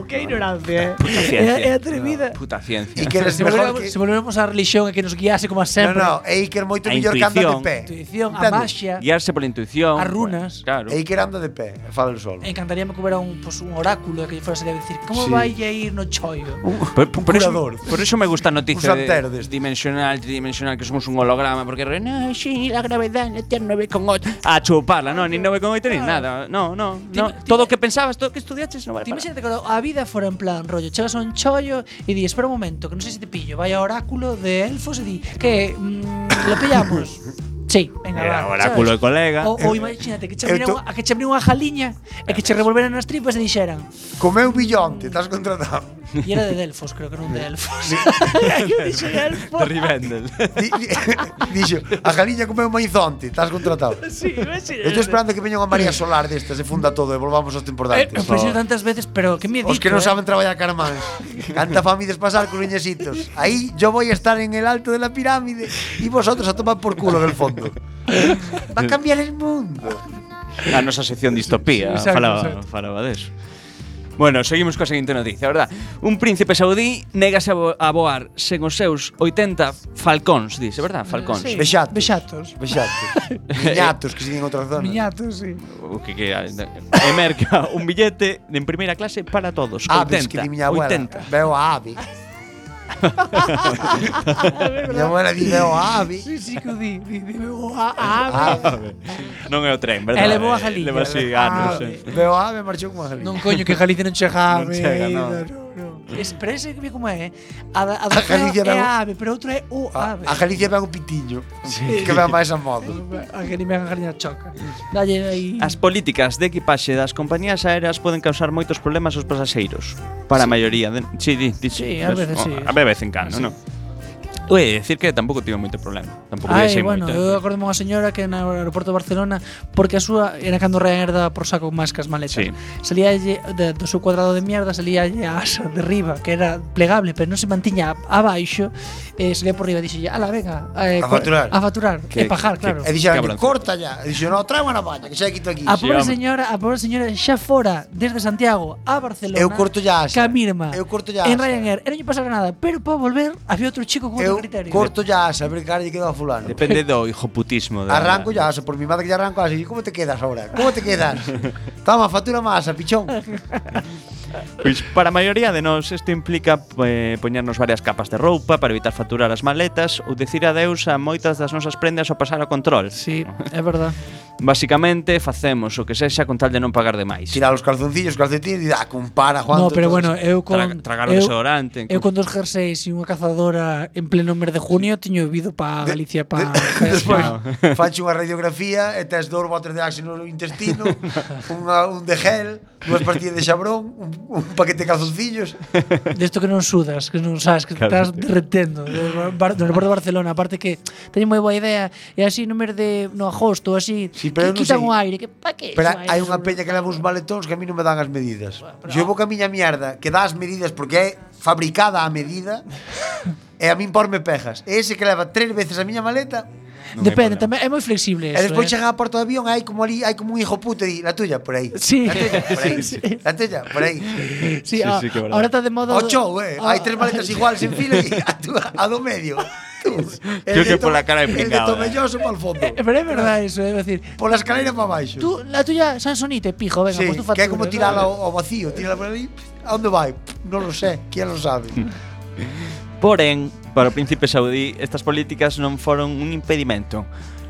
H: Que ignorancia,
I: Puta
H: eh.
I: ciencia.
H: É, é atrevida.
I: Puta ciencia.
F: E que eres
H: Se
F: mejor
H: volvemos,
F: que...
H: se volvemos á religión e que nos guiase como a
F: No,
H: sempre.
F: no, e Iker moito
I: A
F: mellor que anda de
I: intuición.
F: pé.
H: Intuición, a
F: Entendes?
H: maxia.
I: Guiarse pola intuición.
H: As runas.
I: Bueno, claro.
F: E Iker anda de pé, fala el solo.
H: Encantaríame que hubiera un, pues, un oráculo que yo fuera a decir, ¿cómo
F: Sí. Uh.
H: vai a ir no choio?
I: Por, por- por
F: curador.
I: eso, por eso me gusta a noticia
F: Un santero
I: de
F: deste.
I: dimensional, tridimensional, que somos un holograma, porque re- no, sí, la gravedad no tiene 9,8. A chuparla, no, ni 9,8 ni nada. No, no, no.
H: Ah. Dime-
I: Todo o que pensabas, todo o que estudiaches no vale.
H: Te
I: para
H: imagínate que a vida fuera en plan rollo, chegas a un chollo e di, espera un momento, que non sei se te pillo, vai ao oráculo de elfos e di, que mm, lo pillamos. Sí, venga,
I: Eh,
H: va,
I: oráculo de
H: sabes?
I: colega.
H: O, o imagínate que che
F: Eu
H: abriran
F: to-
H: unha- a que che abriran unha jaliña e que che revolveran as tripas e dixeran,
F: Comeu billonte, estás contratado.
H: e era de delfos, creo que non
F: Eh.
H: de elfos. Eu dixen elfos.
I: De Rivendell.
F: Di- di- Dixo, a Galiña comeu maizonte, estás contratado.
H: Sí, imagínate.
F: Eu estou esperando que veña unha María Solar destas e funda todo e volvamos aos
H: Eh,
F: temporantes.
H: Eu
I: Oh.
H: pensei tantas veces, pero que me
F: Os
H: dices? eh?
F: que non saben traballar carmáns Canta familias pasar coruñesitos Aí yo voy a estar en el alto de la pirámide Y vosotros a tomar por culo en el fondo Va a cambiar el mundo
I: A nosa sección distopía
H: Sí, exacto,
I: falaba,
H: exacto.
I: falaba deso. Bueno, seguimos coa seguinte noticia, verdad? Un príncipe saudí negase a, bo a voar sen os seus 80 falcóns, dice, verdad? Falcóns.
H: Sí.
F: Bexatos.
H: Bexatos.
F: Bexatos Miñatos que se din en outra zona
H: Miñatos, sí.
I: O que, que e merca un billete en primeira clase para todos. 80,
F: Aves que di miña abuela
I: 80.
F: Veo a ave Miña abuela di veo a ah, ave
H: Sí, sí, que o di, di, di, o a, a
F: Ah,
H: ave.
I: Non é o tren, verdad?
H: E levou a Galicia.
I: Leva así
H: Ah,
I: anos.
F: Ave.
I: eh.
F: Ah, Veo a ave marchou con a
H: Non
F: Galicia
H: coño, que Galicia non chega a
I: Non
H: ave.
I: chega, non.
H: non, non. Es- Pero ese que ve como é. A, da- a, do
F: A
H: feo
F: Galicia
H: é
F: dá un-
H: a ave, pero outro é o
F: A,
H: ave.
F: a Galicia ven un pitiño Que ven máis a modo
H: A que ni me hagan Galicia choca. Dalle aí.
I: As políticas de equipaxe das compañías aéreas poden causar moitos problemas aos pasaxeiros. Para a maioría. De, sí, di, di,
H: Sí, a veces sí.
I: A veces en cano, non? Ui, decir que tampouco tive moito problema. Tampouco
H: Ai,
I: viaxei
H: bueno,
I: moito.
H: eu acordo unha señora que no aeroporto de Barcelona Porque a súa era cando Ryanair daba por saco máis que as maletas
I: Sí.
H: Salía de, do seu cuadrado de mierda Salía a asa de riba Que era plegable, pero non se mantiña a- abaixo eh, Salía por riba e dixelle Ala, venga eh,
F: A
H: cor-
F: facturar.
H: A facturar,
I: Que-
H: e pajar, claro
F: E dixeron,
I: Cabrón.
F: corta ya E dixeron, no, trae unha baña Que xa quito aquí
H: A pobre
I: Sí, home.
H: señora, a pobre señora xa fora desde Santiago a Barcelona.
F: Eu corto ya a asa.
H: Camirma.
F: Eu corto ya
H: En
F: a asa.
H: Ryanair, e non lle pasaba nada, pero para volver había outro chico con outro
F: Eu
H: criterio.
F: corto ya asa, a ver que cara lle quedou a fulano.
I: Depende do hijoputismo. da-
F: Arranco ya asa, por mi madre que ya arranco así. ¿Cómo te quedas ahora? ¿Cómo te quedas? Toma, factura más, asa, pichón.
I: Pois para a maioría de nós isto implica eh, poñernos varias capas de roupa para evitar facturar as maletas ou decir adeus a moitas das nosas prendas ao pasar o control.
H: Sí, é verdad.
I: Basicamente facemos o que sexa con tal de non pagar demais.
F: Tira los calzoncillos, calcetines y da, compara, Juan.
H: No, pero bueno, eu con
I: Tra- tragar o
H: eu,
I: desodorante,
H: Eu
I: incluso.
H: con dos jerseys e unha cazadora en pleno mes de junio tiño vivido para Galicia para
F: Despois, facho unha radiografía e tes dous botes de axi no intestino, unha, un de gel, dúas pastillas de xabrón, un, un paquete de calzoncillos.
H: Desto que non sudas, que non sabes, que te estás derretendo do bar- do aeroporto de Barcelona, aparte que teño moi boa idea e así no mes de no agosto, así
F: Sí,
H: Que
F: pero eu non
H: quitan o
F: sei.
H: aire, que pa que
F: Pero
H: iso, aire
F: hai unha
H: sobre-
F: peña que leva uns maletóns que a mí non me dan as medidas. Se eu vou ca miña mierda, que dá as medidas porque é fabricada a medida, e a min porme pejas. E ese que leva tres veces a miña maleta,
H: Depende, tamén é moi flexible
F: e
H: eso.
F: despois
H: eh.
F: chega a porta do avión, hai como ali, hai como un hijo puto e di, la tuya, por aí.
H: Sí.
F: La tuya, por aí.
H: Sí, sí.
F: La tuya, por aí.
H: Sí, a- ahora está de Ah. moda
F: O show, eh. Hai tres maletas igual sen fila e a, tú, a do medio. Tú,
L: Creo que pola cara de
F: El de
L: pringao, eh.
F: Tomelloso para fondo.
H: Eh, Pero é verdade eso, é decir,
F: Pola escaleira para baixo.
H: tú la tuya Sansonite, pijo, venga,
F: Sí,
H: pues tú
F: que
H: factura.
F: é como tirala ao, ao vacío, tirala por ali. A onde vai? Non lo sé, quién lo sabe.
I: Porén, para o príncipe saudí, estas políticas non foron un impedimento.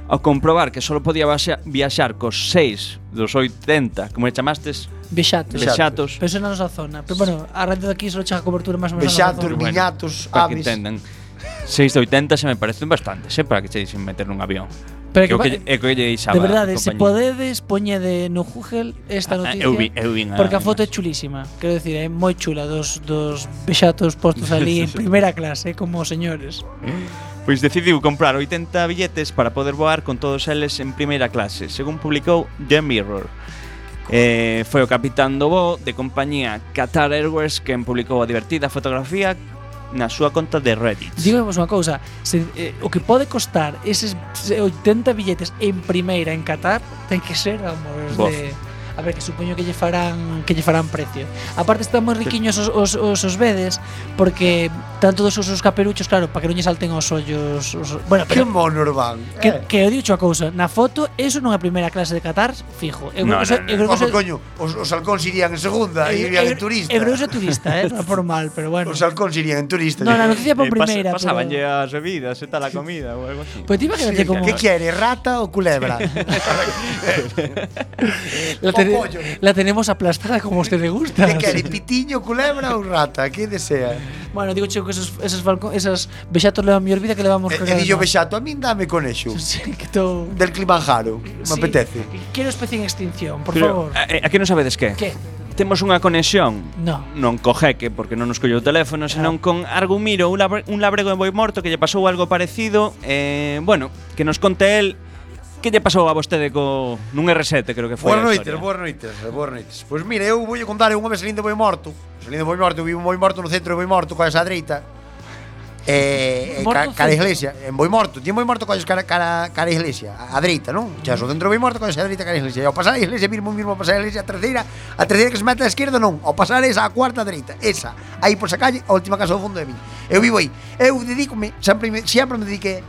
I: Ao comprobar que só podía vaxa- viaxar cos seis dos 80, como le chamastes,
H: Bexatos.
I: Bexatos.
H: Pero eso na nosa zona. Pero bueno, a radio daqui só chega cobertura máis ou menos na nosa
F: Bexatos,
H: zona.
F: miñatos,
I: para que
F: aves.
I: entendan, seis de 80 se me parecen bastantes, eh, para que cheis sin meter nun avión.
H: Pero
I: Creo
H: que
I: que, é que lle
H: De
I: deixaba
H: verdade,
I: a
H: se
I: compañía.
H: podedes poñede no Google esta
I: Ah,
H: noticia.
I: eu vi- eu vin a-
H: porque a foto é chulísima. Quero decir, é moi chula dos dos bexatos postos ali en primeira clase como señores.
I: Pois Pues decidiu comprar 80 billetes para poder voar con todos eles en primeira clase, según publicou The Mirror. Eh, foi o capitán do voo de compañía Qatar Airways quen publicou a divertida fotografía na súa conta de Reddit.
H: Dígamos unha cousa, se, eh, o que pode costar eses 80 billetes en primeira en Qatar ten que ser, vamos,
I: Bof.
H: de A ver, que supoño que lle farán que lle farán precio. Aparte están moi riquiños os, os, os, os vedes porque tanto dos os, os caperuchos, claro, para que non lle salten os ollos. Os, bueno,
F: Que
H: pero
F: monos van.
H: que,
F: eh.
H: que eu dicho a cousa, na foto eso non é a primeira clase de Qatar, fijo. Eu
I: No,
H: creo que
I: no,
H: eso-
I: no.
H: eu creo que
F: Como
H: eso-
F: coño, os, os halcóns irían en segunda,
H: eu-
F: irían
H: eu-
F: en turista.
H: Eu creo que eso é turista, eh, non é formal, pero bueno.
F: Os halcóns irían en turista.
H: No, na noticia
I: Eh,
H: pon
I: pas-
H: primeira.
I: Pasabanlle
H: pero-
I: as
H: Pues
I: bebidas e tal a comida ou algo así.
H: Pois ti imagínate como
F: ¿Qué quiere, rata o culebra?
H: La,
F: O
H: tene-
F: pollo.
H: la tenemos aplastada como a usted le gusta.
F: ¿Qué quiere, pitiño, culebra o rata? ¿Qué desea?
H: Bueno, digo, chico, que esos, esos, balcón, esas bexatos levan mi vida que levamos
F: Eh, eh, dillo bexato, a min dame con eso.
H: Sí, que to...
F: Del Kilimanjaro, me
H: sí,
F: apetece.
H: que Quiero especie en extinción, por
I: Pero,
H: favor.
I: eh, aquí non sabedes que?
H: ¿Qué?
I: Temos unha conexión
H: No.
I: non co jeque, porque non nos colleu o teléfono, senón con Argumiro, un, labre- un labrego en boi morto que lle pasou algo parecido. Eh, bueno, que nos conte el que lle pasou a vostede co nun R7, creo que foi.
F: Boas
I: a
F: noites,
I: historia.
F: boas noites, boas noites. Pois mira, eu voulle contar eu unha vez salindo boi morto. Salindo boi morto, vi un boi morto no centro de boi morto coa esa dreita. Eh, eh,
H: Morto
F: ca, cara
H: centro.
F: iglesia, en boi morto, tiña boi morto coa cara, cara, cara iglesia, a, a dreita, non? Xa, so dentro de boi morto coa esa dreita cara iglesia. E ao pasar a iglesia, mirmo, mirmo, ao pasar a iglesia, a terceira, a terceira que se mete á esquerda, non. Ao pasar esa, a cuarta a dereita, esa. Aí por esa calle, a última casa do fondo de min. Eu vivo aí. Eu dedícome, sempre, me- sempre me dediquei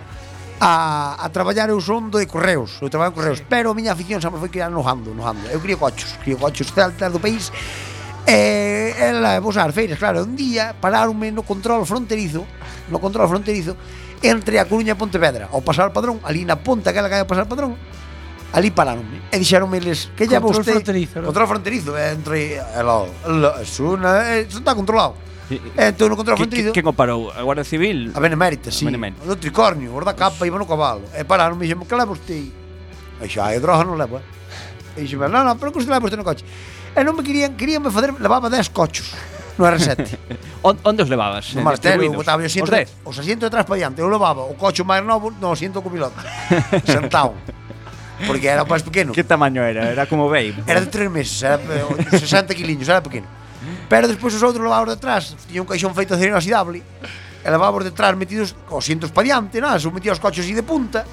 F: a, a traballar eu son do de correos, eu traballo en correos, pero a miña afición sempre foi criar no hando, no hando. Eu crio cochos, crio cochos celtas do país. E ela, vos as feiras, claro, un día paráronme no control fronterizo, no control fronterizo entre a Coruña e Pontevedra, ao pasar o padrón, ali na ponta que ela cae ao pasar o padrón, ali paráronme e dixeronme eles que lleva
H: Control
F: usted
H: fronterizo, non?
F: control fronterizo eh, entre eh, lo, lo, eso, na- eh, eso está controlado
I: Sí.
F: entón no control
I: Que- que-
F: fronterizo
I: Quen o parou? A Guardia Civil?
F: A Benemérita, sí.
I: A Benemérita.
F: O do tricornio, o da capa iba no cabalo. E pararon, me dixen, que leva usted? E xa, eu droga non levo, eh. E dixen, non, non, pero que usted leva usted no coche. E non me querían, queríanme fazer, levaba 10 cochos no R7.
I: Eh, On- Onde os levabas?
F: no maletero, eu
I: Distribuídos?
F: botaba os asiento,
I: Os dez?
F: os asiento de atrás para diante. Eu levaba o coche máis novo no asiento co piloto. Sentado. Porque era o máis pequeno.
I: Que tamaño era? Era como babe.
F: Era de tres meses, era eh, 60 quiliños, era pequeno. Pero despois os outros levábamos detrás, tiña un caixón feito de acero inoxidable, e levábamos detrás metidos os cientos pa diante, nada, se eu metía os coches así de punta,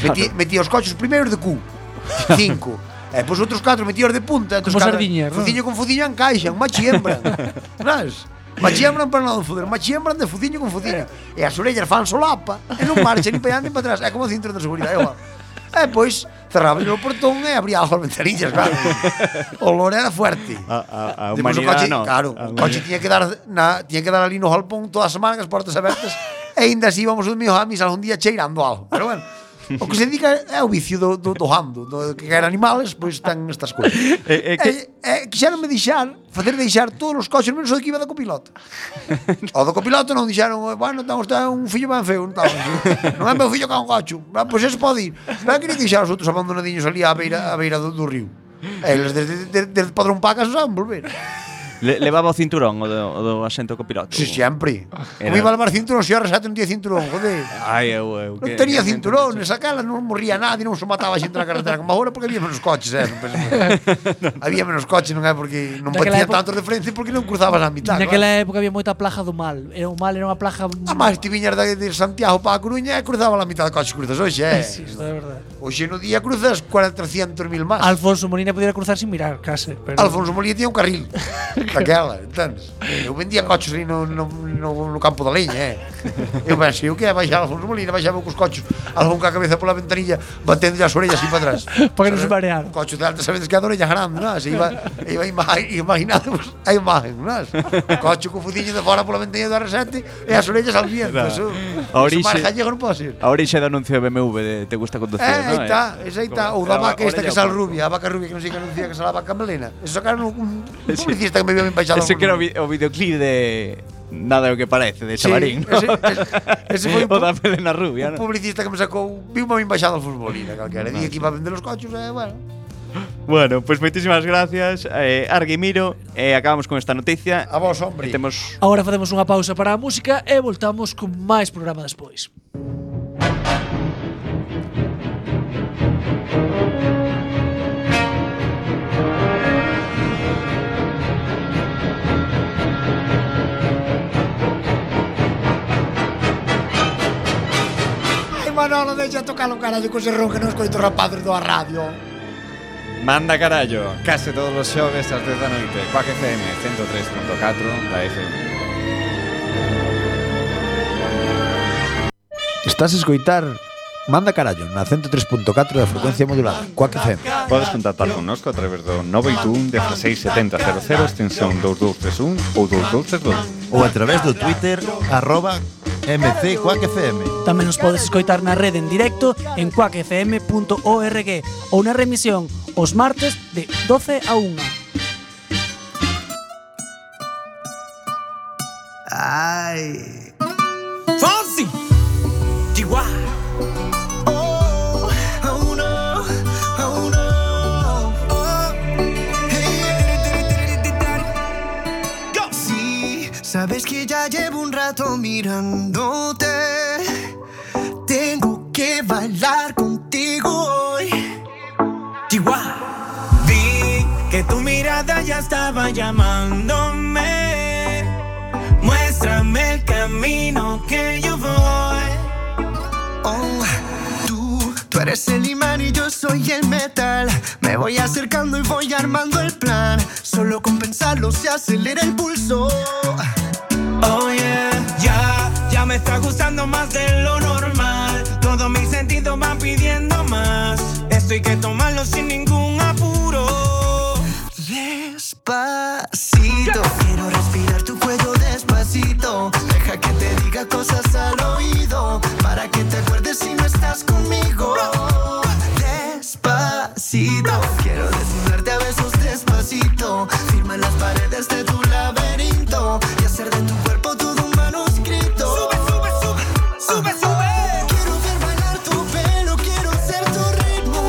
F: metía, metía os coches primeiros de cu, cinco, e depois outros catro metíos de punta, entón
H: Como
F: cada-
H: sardiñas, non?
F: fuciño con fuciño encaixan, machiembran, sabes? Machiembran para non foder, machiembran de fuciño con fuciño, e as orellas fan solapa, e non marchan ni pa diante ni pa atrás, é como cinturón de seguridade, igual. E pois cerraba o portón e abría as ventanillas, claro. O olor era fuerte.
I: A, a, a
F: Depois o
I: humanidade
F: coche,
I: non.
F: claro,
I: A
F: o coche tiña que dar na, tiña que dar ali no galpón todas as semanas as portas abertas e ainda así íbamos os meus amis algún día cheirando algo. Pero bueno, o que se dedica é o vicio do, do, do hando, do, que caer animales, pois están estas cousas.
I: Eh, eh, que-
F: eh, quixeron me deixar, facer deixar todos os coches, menos o que iba do copiloto. O do copiloto non dixeron, "Eh, bueno, está usted un fillo ben feo, non está. Non é meu fillo que é un cocho. Ah, Pois eso pode ir. Pero que deixar os outros Eh, abandonadiños ali á beira, á beira do, do río. Eles desde, desde, desde Padrón Pacas non saben volver.
I: Le, levaba o cinturón o do, o do asento copiloto.
F: Si, sempre. Como iba a levar cinturón, se eu arrasate un día cinturón, joder.
I: Ai, eu, eu.
F: Non tenía cinturón, nesa cala non morría nadie, non se mataba xente na carretera como agora porque había menos coches, eh, non penso- había menos coches, non é porque non
H: Naquela
F: batía
H: época-
F: tanto de frente porque non cruzabas a mitad. Ah,
H: Naquela época había moita plaja do mal. Era o mal era unha plaja
F: A máis ti viñas de, de Santiago para a Coruña e cruzabas a mitad de coches que cruzas hoxe, eh.
H: Sí, isto é verdade.
F: Hoxe no día cruzas 400.000 máis.
H: Alfonso Molina pudiera cruzar sin mirar, case. Pero...
F: Alfonso Molina tiña un carril daquela, entendes? Eu vendía coches ali no, no, no, no campo da leña, eh. Eu pensei, o que é baixar Alfonso Molina? Baixaba cos coches, algún ca cabeza pola ventanilla, batendo as orellas así para atrás.
H: Para que non se marearan.
F: Coche de alta, sabedes que a orella grande, non? Se iba, iba ima, imaginademos a imagen, non? Coche co fudiño de fora pola ventanilla do R7 e as orellas al viento,
I: Claro.
F: eso.
I: A
F: Eso
I: orixe-
F: para gallego non pode ser.
I: A orixe do anuncio de BMW de te gusta conducir,
F: Eh, aí
I: non?
F: está, esa aí está. Ou da
I: Era
F: vaca esta
I: orella
F: que sal
I: ao
F: rubia, a vaca rubia que non sei que anuncia que sal a vaca melena. Eso sacaron un, un publicista que me vio ben baixado.
I: Ese que era o, vi- o videoclip de Nada é o que parece, de Chavarín, non?
F: ese, ese, ese foi un,
I: o da Pelena Rubia,
F: un
I: non?
F: publicista que me sacou, viu me ben baixado al futbolina, calquera. Dí que iba a vender os cochos, eh, bueno.
I: Bueno, pois pues moitísimas gracias, eh, Arguimiro. Eh, acabamos con esta noticia.
F: A vos, hombre.
I: E temos
H: Agora facemos unha pausa para a música e voltamos con máis programa despois.
F: Ai, Manolo, deixa tocar o carallo con ese ron que non escoito rapadres do a radio.
E: Manda carallo, case todos os xoves ás 10 da noite, Coac FM 103.4 da FM.
M: Estás a escoitar Manda Carallo na 103.4 da frecuencia modulada, Quack FM.
E: Podes contactar connosco a través do 981 167000 extensión 2231 ou 2232.
N: Ou a través do Twitter arroba mcquackfm.
H: Tamén nos podes escoitar na rede en directo en cuacfm.org ou na remisión os martes de 12 a 1.
O: Fonsi, Chihuahua. Oh,
P: Sí, sabes que ya llevo un rato mirándote. Tengo que bailar contigo hoy.
O: Chihuahua. Vi que tu mirada ya estaba llamándome. Muéstrame el camino que yo voy.
P: Oh, tú, tú eres el imán y yo soy el metal. Me voy acercando y voy armando el plan. Solo con pensarlo se acelera el pulso.
O: Oh yeah, ya, ya me está gustando más de lo normal. Todos mis sentidos van pidiendo más. Esto hay que tomarlo sin ningún apuro.
P: Despacito, quiero respirar tu cuello despacito. Deja que te diga cosas al oído para que te acuerdes si no estás conmigo. Despacito, quiero desnudarte a besos despacito. Firma en las paredes de tu laberinto y hacer de tu cuerpo todo un manuscrito. Sube, sube, sube, sube, sube. Quiero ver bailar tu pelo, quiero ser tu ritmo.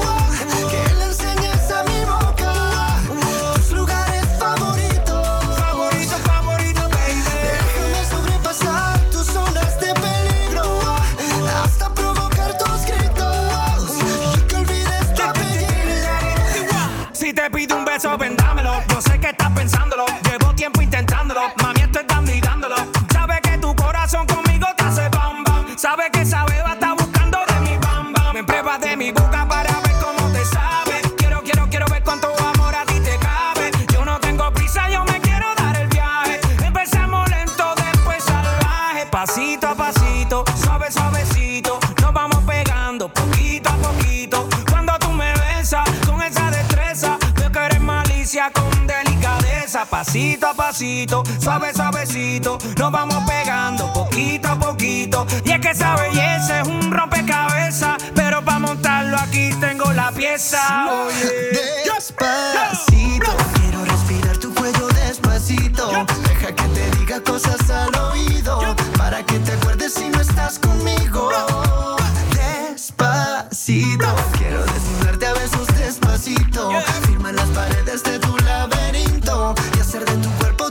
P: Que le enseñes a mi boca tus lugares favoritos. Favorito, favorito, baby. Déjame sobrepasar tus zonas de peligro. Hasta provocar tus gritos. Y que olvides tu apellido.
O: Si te pido un beso, vendámelo. Yo sé que estás pensándolo. Llevo tiempo intentándolo. Mami, estoy dando y dándolo. Sabes que tu corazón conmigo te hace bam bam. Sabes que esa beba está buscando de mi bam bam. Me pruebas de mi boca para ver cómo te sabe. Quiero, quiero, quiero ver cuánto amor a ti te cabe. Yo no tengo prisa, yo me quiero dar el viaje. Empezamos lento, después salvaje. Pasito a pasito, suave, suavecito. Nos vamos pegando poquito a poquito. Cuando tú me besas con esa destreza, veo que eres malicia con delicadeza. Pasito a pasito, suave, suavecito. Nos vamos pegando poquito a poquito. Y es que esa belleza es un rompecabezas. Pero para montarlo aquí tengo la pieza. Oye.
P: Despacito, quiero respirar tu cuello despacito. Deja que te diga cosas al oído para que te acuerdes si no estás conmigo. Despacito, quiero desnudarte a besos despacito. Firma en las paredes de tu laberinto y hacer de tu cuerpo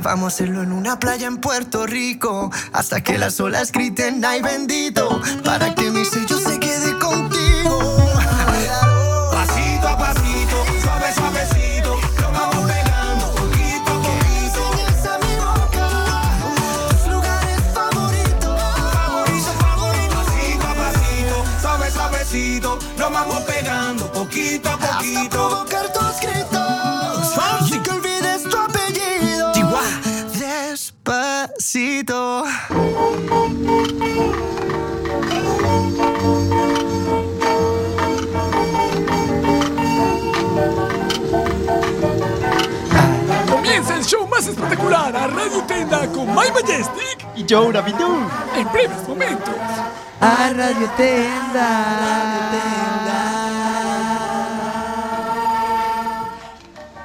P: Vamos a hacerlo en una playa en Puerto Rico. Hasta que las olas griten, ay bendito. Para que mi sello se quede contigo.
O: Pasito a pasito, suave, suavecito, lo vamos pegando poquito a poquito. a mi boca, tus lugares favoritos. Favoritos, favoritos. Pasito a pasito, suave, suavecito, lo vamos pegando poquito a poquito.
P: provocar tus gritos. Y que olvides tu apellido. Despacito.
Q: Comienza el show más espectacular a Radio Tenda con My Majestic y Joe Navidou. En breves momentos.
P: A Radio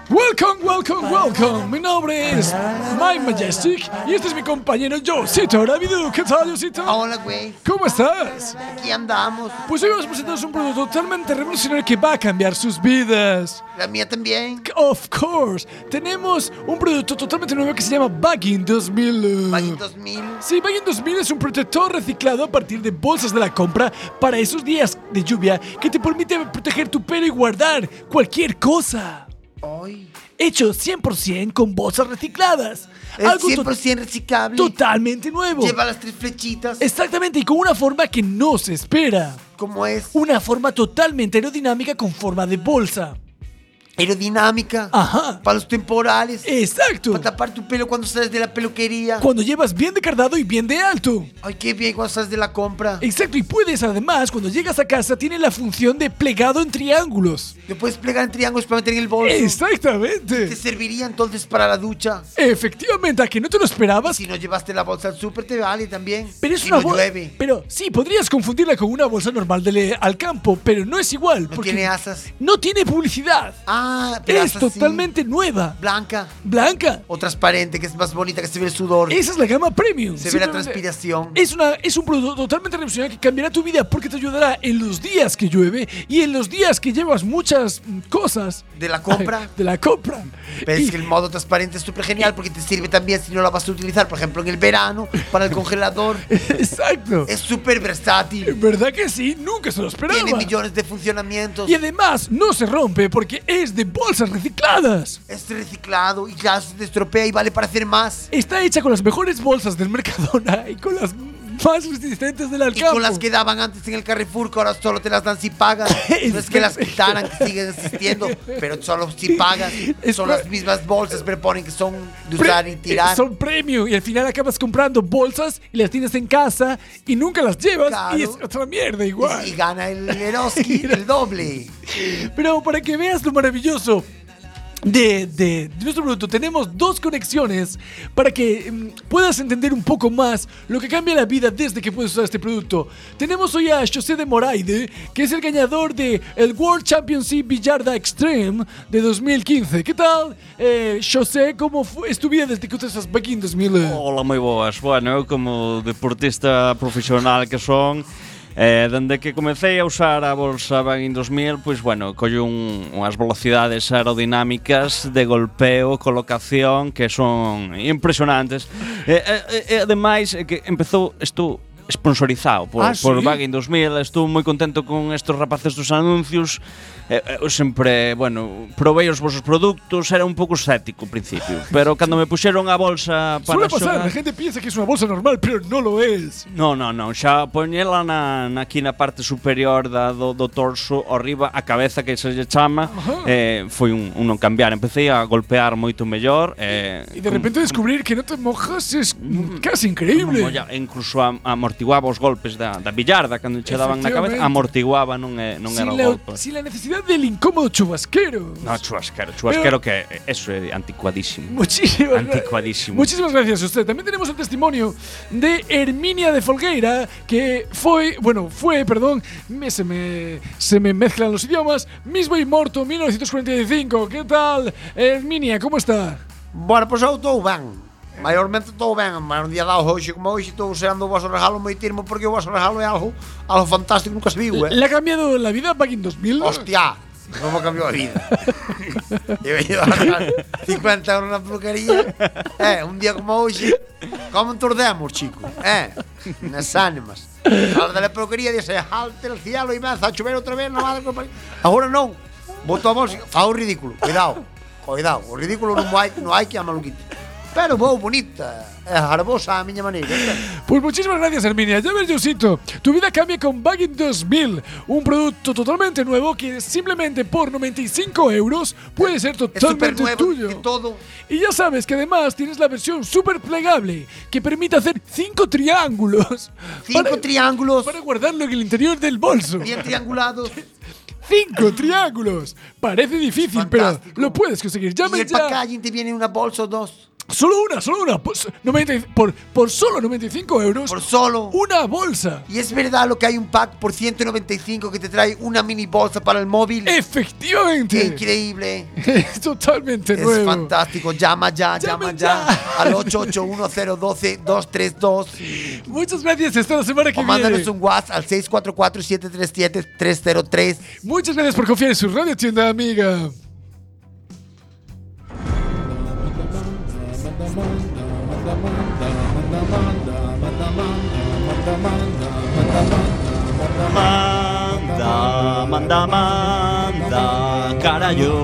Q: Welcome, welcome, welcome. Mi nombre es My Majestic y este es mi compañero Josito Navidou. ¿Qué tal, Josito? Hola, güey. ¿Cómo estás?
F: Aquí andamos.
Q: Pues hoy vamos a presentaros un producto totalmente revolucionario que va a cambiar sus vidas.
F: La mía también.
Q: Of course. Tenemos un producto totalmente nuevo que se llama Bagging 2000. Bagging
F: 2000.
Q: Sí, Bagging 2000 es un protector reciclado a partir de bolsas de la compra para esos días de lluvia que te permite proteger tu pelo y guardar cualquier cosa. Hecho 100% con bolsas recicladas.
F: Es
Q: to-
F: 100% reciclable.
Q: Totalmente nuevo.
F: Lleva las tres flechitas.
Q: Exactamente, y con una forma que no se espera.
F: ¿Cómo es?
Q: Una forma totalmente aerodinámica con forma de bolsa.
F: Aerodinámica.
Q: Ajá.
F: Para los temporales.
Q: Exacto.
F: Para tapar tu pelo cuando sales de la peluquería.
Q: Cuando llevas bien de cardado y bien de alto.
F: Ay, qué bien cuando sales de la compra.
Q: Exacto, y puedes además, cuando llegas a casa, tiene la función de plegado en triángulos.
F: Lo puedes plegar en triángulos para meter en el bolso.
Q: Exactamente.
F: Te serviría entonces para la ducha.
Q: Efectivamente, a que no te lo esperabas.
F: Si no llevaste la bolsa al súper, te vale también.
Q: Pero es
F: Y
Q: una
F: no
Q: bolsa.
F: llueve.
Q: Pero sí, podrías confundirla con una bolsa normal de le- al campo, pero no es igual. No
F: tiene asas.
Q: No tiene publicidad.
F: Ah, pero
Q: es
F: asas sí.
Q: totalmente nueva.
F: Blanca.
Q: Blanca.
F: O transparente, que es más bonita, que se ve el sudor.
Q: Esa es la gama premium.
F: Se ve la
Q: Simplemente-
F: transpiración.
Q: Es, una, es un producto totalmente revolucionario que cambiará tu vida porque te ayudará en los días que llueve y en los días que llevas muchas mm, cosas.
F: De la compra.
Q: De la compra.
F: Pero es que el modo transparente es súper genial porque te sirve también si no la vas a utilizar, por ejemplo, en el verano, para el congelador.
Q: Exacto.
F: Es súper versátil.
Q: ¿Verdad que sí? Nunca se lo esperaba.
F: Tiene millones de funcionamientos.
Q: Y además no se rompe porque es de bolsas recicladas.
F: Es reciclado y ya se te estropea y vale para hacer más.
Q: Está hecha con las mejores bolsas del Mercadona y con las más resistentes del
F: Y
Q: alcance.
F: con las que daban antes en el Carrefour, que ahora solo te las dan si pagas. No es que las quitaran, que siguen existiendo, pero solo si pagas. Son las mismas bolsas, pero ponen que son de usar y tirar.
Q: eh, Son premium y al final acabas comprando bolsas y las tienes en casa y nunca las llevas y es otra mierda igual.
F: Y gana el Eroski el doble.
Q: Pero para que veas lo maravilloso de, de- de nuestro producto, tenemos dos conexiones para que mm, puedas entender un poco más lo que cambia la vida desde que puedes usar este producto. Tenemos hoy a José de Moraide, que es el ganador de el World Championship Billarda Extreme de 2015. ¿Qué tal, eh, José? ¿Cómo fue, es tu vida desde que usas back in 2000? eh?
I: Ola, moi boas. Bueno, eu como deportista profesional que son, eh, dende que comecei a usar a bolsa Van in 2000, pois, bueno, collo un, unhas velocidades aerodinámicas de golpeo, colocación, que son impresionantes. E, e, e ademais, é que empezou isto sponsorizado por,
H: Ah,
I: ah, por
H: sí?
I: Bagging 2000 Estou moi contento con estes rapaces dos anuncios eh, eh, Eu sempre, bueno, provei os vosos produtos Era un pouco escéptico ao principio Pero cando me puxeron a bolsa para
Q: Suele pasar, eh?
I: xogar
Q: la gente piensa que es una bolsa normal, pero no lo es.
I: No, no, non, xa poñela na, na aquí na parte superior da, do, do torso, ao riba, a cabeza que se lle chama, eh, foi un, un non cambiar. Empecé a golpear moito mellor. Eh,
Q: Y de repente descubrir que no te mojas es mm, casi increíble.
I: Molla, e incluso am- amortiguaba os golpes da, da billarda cando che daban na cabeza,
Q: Efectivamente.
I: amortiguaba, non, é, non era
Q: sin,
I: o
Q: la,
I: golpe.
Q: sin la necesidad del incómodo chubasquero.
I: No, chubasquero, chubasquero que eh, eso é anticuadísimo.
Q: Muchísimas gra-
I: Anticuadísimo.
Q: Muchísimas gracias a usted. También tenemos el testimonio de Herminia de Folgueira, que fue, bueno, fue, perdón, me- se, me, se me mezclan los idiomas, mismo y morto 1945. ¿Qué tal, Herminia? ¿Cómo está?
F: Bueno, pues eu estou ben. Maiormente estou ben, mas un día dado hoxe como hoxe estou usando o vosso regalo moitirmo porque o vosso regalo é algo, algo fantástico que nunca se viu, eh?
Q: ¿Le ha cambiado la vida Back in 2000?
F: Hostia, como cambiou a vida. Eu ia ahorrar 50 euros na peluquería. É, un día como hoxe, como entordemos, chico. É, nas ánimas. Sala da peluquería, dice, alte el cielo e meza a chover outra vez na madre. compa-". Agora non. Boto a bolsa, fa o ridículo. Cuidado, cuidado. O ridículo non hai, non hai que a maluquita. Pero vou bonita, é harbosa a miña maneira.
Q: Pues muchísimas gracias, Herminia. Ya ves, Josito, tu vida cambia con Bagging 2000, un producto totalmente nuevo que simplemente por 95 euros puede ser totalmente
F: supernuevo,
Q: tuyo. Y ya sabes que además tienes la versión super plegable que permite hacer 5 triángulos.
F: ¿Cinco triángulos?
Q: Para guardarlo en el interior del bolso.
F: Bien triangulados.
Q: ¡Cinco triángulos! Parece difícil, pero lo puedes conseguir.
F: E
Q: Llame
F: el
Q: ya.
F: packaging te viene una bolsa ou dos.
Q: Solo una, solo una. Pues, Por, s- 90 y- por, por solo 95 euros.
F: Por solo.
Q: Una bolsa.
F: ¿Y es verdad lo que hay un pack por 195 que te trae una mini bolsa para el móvil?
Q: Efectivamente.
F: Increíble.
Q: Es totalmente
F: es
Q: nuevo.
F: fantástico. Llama ya, llama ya, al 881012232.
Q: Muchas gracias. Hasta la semana que
F: o mándanos
Q: viene.
F: un WhatsApp al 644-737-303.
Q: Muchas gracias por confiar en su radio tienda amiga.
R: Manda, manda, manda, carallo.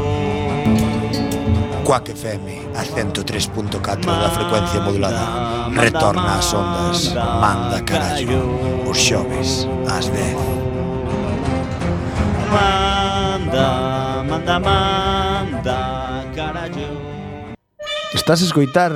F: Quack FM, a 103.4 da frecuencia modulada. Retorna ás ondas. Manda carallo. Os xoves, ás 10.
R: Manda, manda, manda, carallo.
C: Estás a escoitar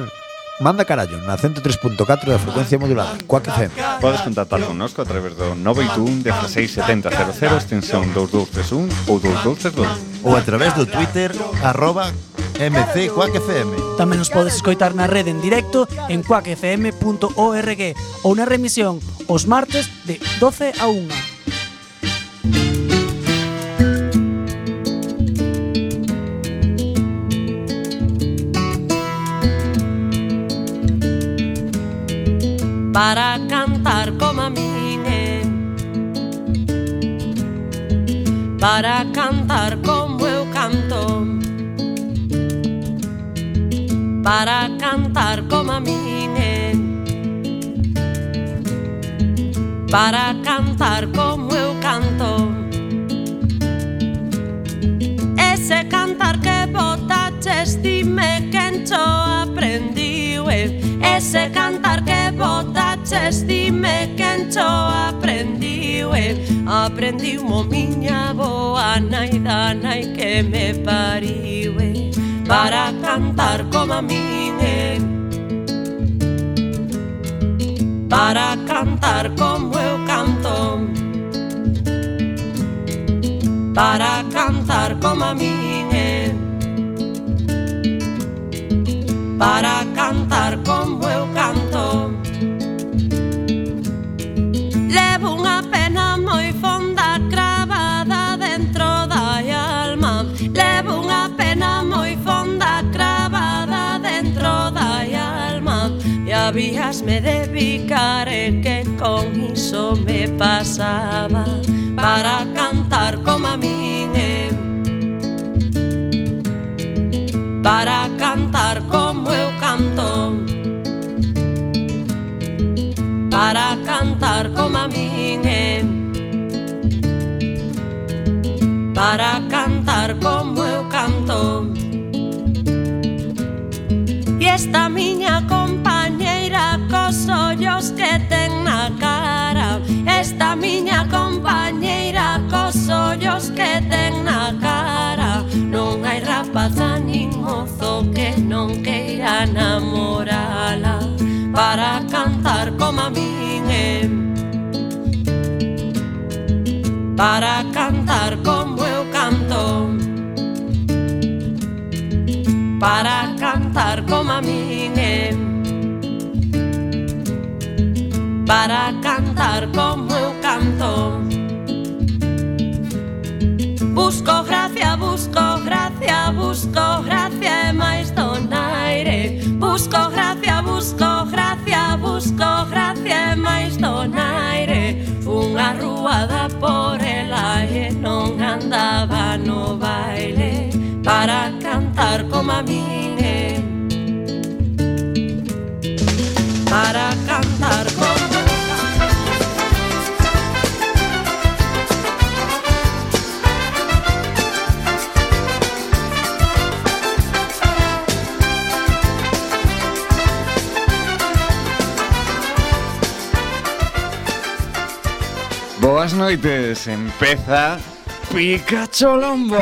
C: Manda Carallo na 103.4 da frecuencia modulada. Quack FM.
E: Podes contactar connosco a través do 921 16 70 00 extensión 2231 ou 2232
D: ou a través do Twitter arroba MC Quack FM.
J: Tamén nos podes escoitar na rede en directo en cuacfm.org ou na remisión os martes de 12 a 1.
S: para cantar como a min eh. para cantar como eu canto para cantar como a min eh. para cantar como eu canto Ese cantar que botaches dime quen cho aprendiu eh. Ese cantar que botaches dime quen cho aprendiu eh. Aprendiu mo miña boa nai da nai que me pariu eh. Para cantar como a min eh. Para cantar como eu canto para cantar como a min eh. para cantar como eu canto levo unha pena moi fonda cravada dentro da alma levo unha pena moi fonda cravada dentro da alma e habíasme de picar e que con iso me pasaba para cantar como a min eh. para cantar como eu canto para cantar como a min eh. para cantar como eu canto E esta miña compañeira cos ollos que ten na cara Esta miña compañeira cos ollos que ten na cara Non hai rapaza nin mozo que non queira namorala Para cantar como a min eh. Para cantar como eu canto para cantar como a min eh. para cantar como eu canto Busco gracia, busco gracia, busco gracia e máis donaire Busco gracia, busco gracia, busco gracia e máis donaire Unha ruada por ela e non a mandaba no baile para cantar como a mine. Para cantar como
E: Boas noites, empeza Pikachu Lombo.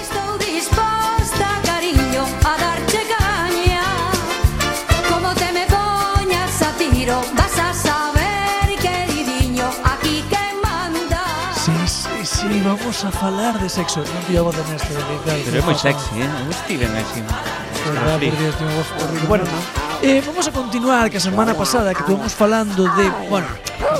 T: Estou disposta, cariño, a darte caña. Como te me poñas a tiro, vas a saber, queridinho, aquí que manda.
H: Sí, sí, sí, vamos a falar de sexo. Non pillaba de neste.
I: Pero é moi sexy, eh? Eu estive en ese.
H: Verdad, por Dios, tiene voz horrible. Bueno, eh, vamos a continuar que a semana pasada que estuvimos falando de, bueno, no-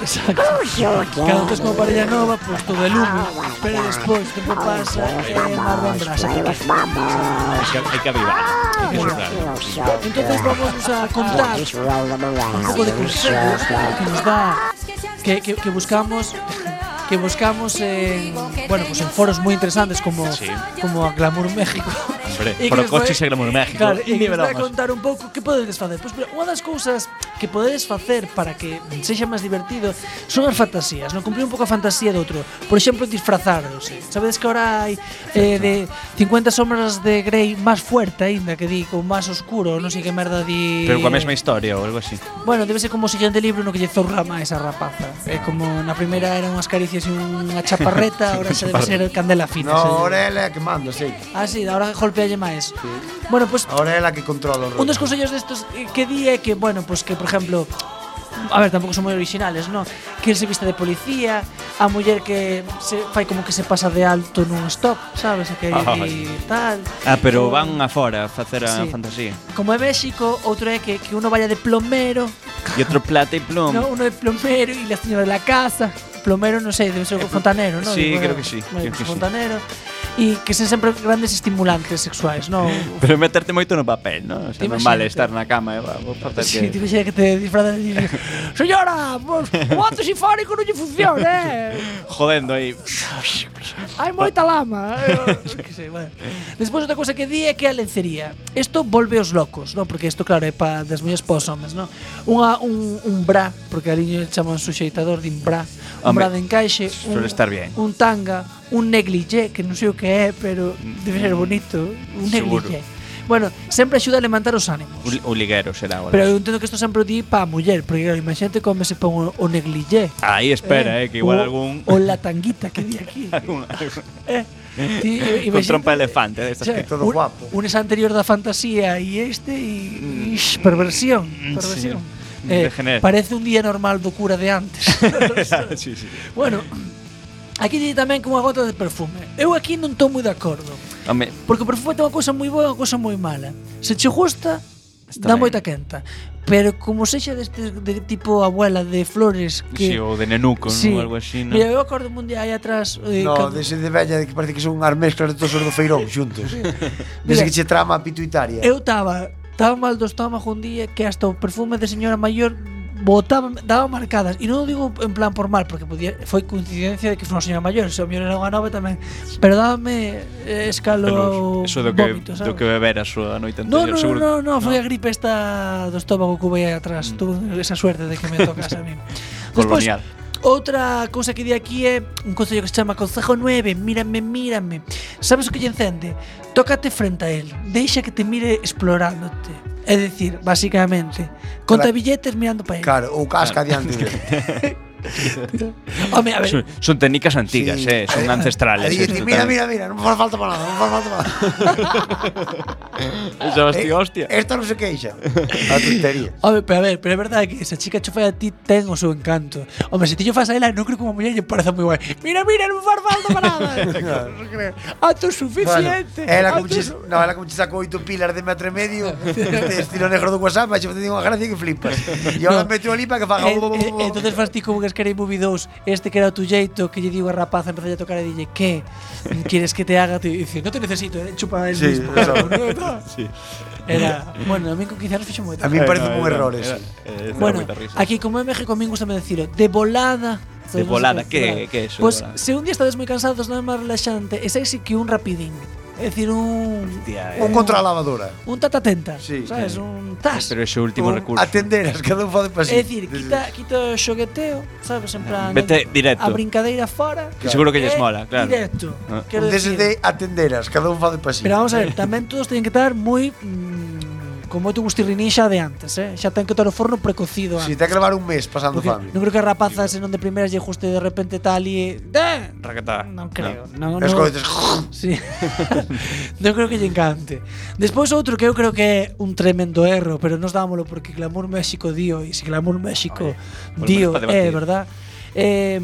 H: exacto. Cada vez como parella nova, pois pues, todo el humo, pero despois o tempo pasa
G: é
H: e eh, marrón brasa.
I: Hay que, hay que avivar. Hay que soplar.
G: Então
H: Entonces vamos a contar un poco de consejos que nos da, que, que, que buscamos, que buscamos en, bueno, pues en foros muy interesantes como, como a Glamour México.
I: Hombre,
H: que
I: por
H: nos
I: coches
H: vai-
I: e Glamour México.
H: Claro, e
I: Ni
H: que nos vai
I: bromas.
H: contar un pouco que podedes facer. Pois pues, unha das cousas que podedes facer para que sexa máis divertido son as fantasías, non cumplir un pouco a fantasía do outro. Por exemplo, disfrazaros. Sabedes que agora hai eh, de 50 sombras de Grey máis fuerte aínda que di, con máis oscuro, non sei que merda di.
I: Pero coa mesma historia ou algo así.
H: Bueno, debe ser como o siguiente libro no que lle zorra máis a rapaza. É como na primeira eran unhas caricias e unha chaparreta, agora xa debe ser candela fina.
F: No,
H: xa lle-
F: ahora es la que manda, sí.
H: Ah, sí, ahora golpealle máis. Bueno, pues
F: Ahora es la que controla los
H: Un dos consellos destos eh, que di é que, bueno, pues que, por exemplo, a ver, tampouco son moi originales, no? Que el se vista de policía, a muller que se fai como que se pasa de alto nun stop, sabes? E Que
I: Ai.
H: aí tal.
I: Ah, pero
H: Ou-
I: van afora a facer a
H: Sí.
I: fantasía.
H: Como é México, outro é que, que uno vaya de plomero,
I: E outro plata e plomo.
H: no, uno de plomero e la señora de la casa. Plomero, non sei, debe ser fontanero, non?
I: Eh, sí,
H: Digo,
I: creo que sí,
H: bueno,
I: creo que sí.
H: fontanero. E que sen sempre grandes estimulantes sexuais, non?
I: Pero meterte moito no papel, non? O sea,
H: Imagínate.
I: normal estar na cama eh, e va, vou facer
H: Sí,
I: que...
H: tipo, xa que te disfrazas e dices, Señora, pues, o ato sinfónico non lle funciona, eh?
I: Jodendo aí.
H: Hai moita lama. eh, eu que sei, bueno. Despois outra cousa que di é que a lencería. Isto volve os locos, non? Porque isto claro é para das mulleres para os homes, non? Unha un, un bra, porque ali lle chaman suxeitador de un bra, un
I: Home,
H: bra de encaixe, un,
I: suele estar bien.
H: un tanga, un negligé, que non sei o que é, pero debe ser bonito, un
I: Mm, seguro.
H: negligé. Bueno, sempre axuda a levantar os ánimos.
I: O li- O liguero será agora.
H: Pero eu entendo que isto sempre o di para a muller, porque claro, imagínate como se pon o, o negligé.
I: Aí espera, eh, que igual
H: o-
I: algún-
H: O la tanguita que di aquí.
I: Algún-
H: eh, ti,
I: Con
H: imagínate-
I: trompa de elefante destas
H: xa,
I: que...
H: un- Un es anterior da fantasía e este e ix, perversión, perversión.
I: Mm. sí. Mm,
H: Eh,
I: Degener-
H: parece un día normal do cura de antes.
I: sí, sí.
H: bueno, aquí di tamén que unha gota de perfume. Eu aquí non estou moi de acordo.
I: Home,
H: Porque o perfume ten unha cousa moi boa e unha cousa moi mala. Se che gusta,
I: Está
H: dá
I: ben.
H: moita quenta. Pero como sexa deste de tipo abuela de flores
I: sí,
H: que
I: ou de nenuco,
H: Sí.
I: non? Algo así, non?
H: Mira, eu acordo un día aí atrás eh,
F: No,
H: cando-
F: dese de vella de que parece que son unhas mezclas de todos os do Feirón xuntos. Dese
H: Mira.
F: que che trama a pituitaria.
H: Eu estaba tan mal do estómago un día que hasta o perfume de señora maior botaba, daba marcadas e non o digo en plan por mal porque podía, foi coincidencia de que foi unha señora maior se o mellor era unha nova tamén pero dábame eh, escalo
I: Pero eso do que,
H: vómito,
I: do
H: sabes?
I: que beber a súa noite
H: No,
I: anterior,
H: no, no,
I: seguro. Mm.
H: no, no, foi a gripe esta do estómago que houve aí atrás. Tuve esa suerte de que me tocase a mí. Despois,
I: Colonial.
H: outra cousa que di aquí é un concello que se chama Concejo 9, mírame, mírame. Sabes o que lle encende? Tócate frente a él, deixa que te mire explorándote. É dicir, basicamente, conta
F: Claro.
H: billetes mirando para él.
F: Claro, ou casca
I: Claro.
F: diante dele.
H: Home, a ver.
I: Son, son técnicas antigas, eh,
F: Sí.
I: son ancestrales. eh,
F: Aí dice,
I: esto
F: mira,
I: tamén.
F: mira, mira, non faz falta para nada, non faz falta para nada.
I: Eso,
F: Eh,
I: hostia, hostia.
F: Esta non se queixa. A tontería.
H: Home, pero a ver, pero é verdade que esa chica chofea a ti ten o seu encanto. Home, se ti yo fas a ela, non creo que unha muller lle pareza moi guai. Mira, mira, non faz falta para nada. Autosuficiente.
F: Bueno, ela como
H: Autos-
F: che, no, ela como che sacou oito pilas de metro e medio de estilo negro do WhatsApp, e te unha gracia que flipas. E agora
H: No.
F: meteu ali para que
H: Eh,
F: faga bo, bo,
H: eh,
F: bo, bo.
H: entonces fas ti como que Scary Movie 2 Este que era o tu xeito Que lle digo a rapaza Empezó a tocar e dille Que? Quieres que te haga? Te dice No te necesito eh, Chupa el
F: Sí,
H: mismo
F: eso.
I: Sí. Eh,
H: Era Bueno, a mí con 15 anos fixo moito
F: A mí me parece un error eso.
H: Bueno, aquí como en México a mí gustame decirlo De volada cansados.
I: De
H: non sei
I: volada,
H: que,
I: que-
H: claro.
I: que é eso,
H: Pois
I: volada?
H: se un día estades moi cansados, nada máis relaxante, e sexy que un rapidín. É dicir, un...
I: Hostia,
F: Un contra a lavadora.
H: Un tatatenta,
F: Sí.
H: sabes? Un tas.
I: Pero ese último
F: Un
I: recurso.
F: Atender, as cada un fade para si.
H: É dicir, quita, quita o xogueteo, sabes? Pues En plan,
I: Vete directo.
H: a brincadeira fora.
I: Que seguro que lles
H: e
I: mola, claro.
H: Directo.
I: Ah.
H: Quero
F: Un deses
H: dicir-
F: de atenderas, cada un fade para si.
H: Pero vamos a ver, tamén todos teñen que estar moi mm, con moito gustirrinín xa de antes, eh? Xa ten que estar o forno precocido antes.
F: Si te ha que levar un mes pasando
H: Porque
F: fame.
H: non creo que a rapaza se non de primeiras lle guste de repente tal e... Eh,
I: Raquetá.
H: Non creo. No, no,
F: Es como dices,
H: sí. non creo que lle encante. Despois outro que eu creo que é un tremendo erro, pero nos dámolo porque Glamour México dio, e se Glamour México
I: polo
H: dio,
I: menos pa
H: é
I: debatir.
H: verdad. Eh,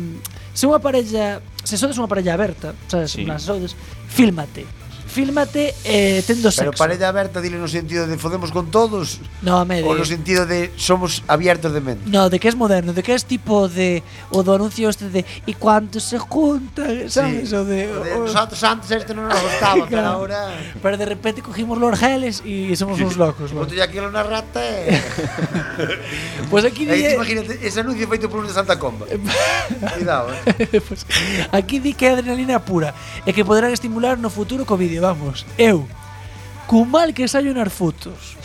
H: se unha parella, se sodes unha parella aberta, sabes,
I: Sí.
H: sí. sodes, fílmate. Fílmate eh, tendo sexo.
F: Pero parella aberta, dile no sentido de fodemos con todos.
H: No, me
F: O
H: de-
F: no sentido de somos abiertos de mente.
H: No, de que es moderno, de que es tipo de o do anuncio este de y cuando se juntan, ¿sabes? O de,
F: De
H: o-
F: Nosotros antes esto no nos gustaba, pero
H: Claro.
F: ahora.
H: pero de repente cogimos los geles y somos unos locos.
F: Como
H: ¿no?
F: tú ya quieres una rata.
H: Pues aquí
F: Ahí te
H: di-
F: Eh, imagínate ese anuncio feito por un de Santa Comba. Cuidado, eh.
H: Pues, aquí di que é adrenalina pura e que poderán estimular no futuro co vídeo, vamos. Eu, cun mal que saio nas fotos,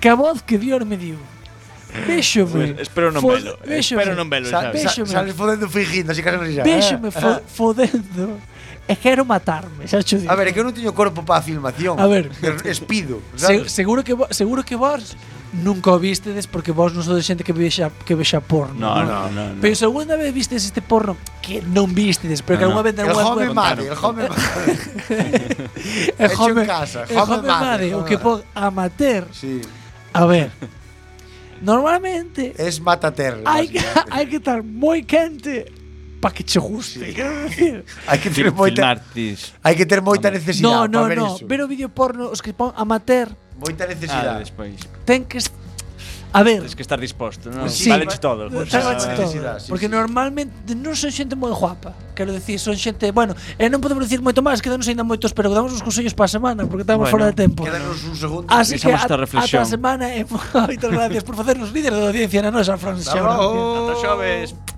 H: que a voz que Dios me diu, Véxome.
I: Pues, espero non
H: fo-
I: velo, eh,
H: véxome,
I: espero non velo,
H: sa-
I: sabes?
H: véxome.
F: Sales fodendo fingindo, así que Ah. non risa.
H: Véxome fo- fodendo e quero matarme, xa cho digo.
F: A ver, é que eu non teño corpo para a filmación.
H: A ver.
F: Pero Espido.
H: Se,
F: sabes?
H: seguro que vo- seguro que vos nunca o vistedes porque vos non sodes xente que vexa que vexa porno.
I: No, no, no, no.
H: Pero se alguna vez vistes este porno que non vistedes, pero que
I: No, no.
H: alguna vez
F: El
H: alguna
F: home madre, el home madre.
H: El
F: Hecho
H: home,
F: en casa,
H: el
F: home
H: home
F: madre,
H: madre, o
F: home
H: que
F: madre.
H: pon amateur.
F: Sí.
H: A ver. Normalmente
F: Es matater.
H: hai que hai que estar moi quente para que che guste. Quero decir,
F: Hai que
I: Fil-
F: ter moita
I: filmartis.
F: hai que ter moita
H: No,
F: necesidade
H: no,
F: para ver
H: no,
F: iso.
H: ver o vídeo porno os que pon amateur
I: Ah,
F: Moita necesidade.
I: despois.
H: ten que est- A ver,
I: Tens que estar disposto, non?
H: Pois
I: Sí. Valeche todo.
H: Pues
I: xa-
H: Sábache todo. porque normalmente non son xente moi guapa. Quero dicir, son xente, bueno, e non podemos dicir moito máis, quedanos aínda moitos, pero damos uns consellos para a semana, porque estamos
I: Bueno,
H: fora de tempo.
F: Quedarnos un segundo.
H: Así que
I: Deixamos esta
H: ata
I: reflexión.
H: ata a semana e moitas gracias por facernos líder da audiencia na nosa Fran
F: Bravo.
H: Show.
I: Ata xoves.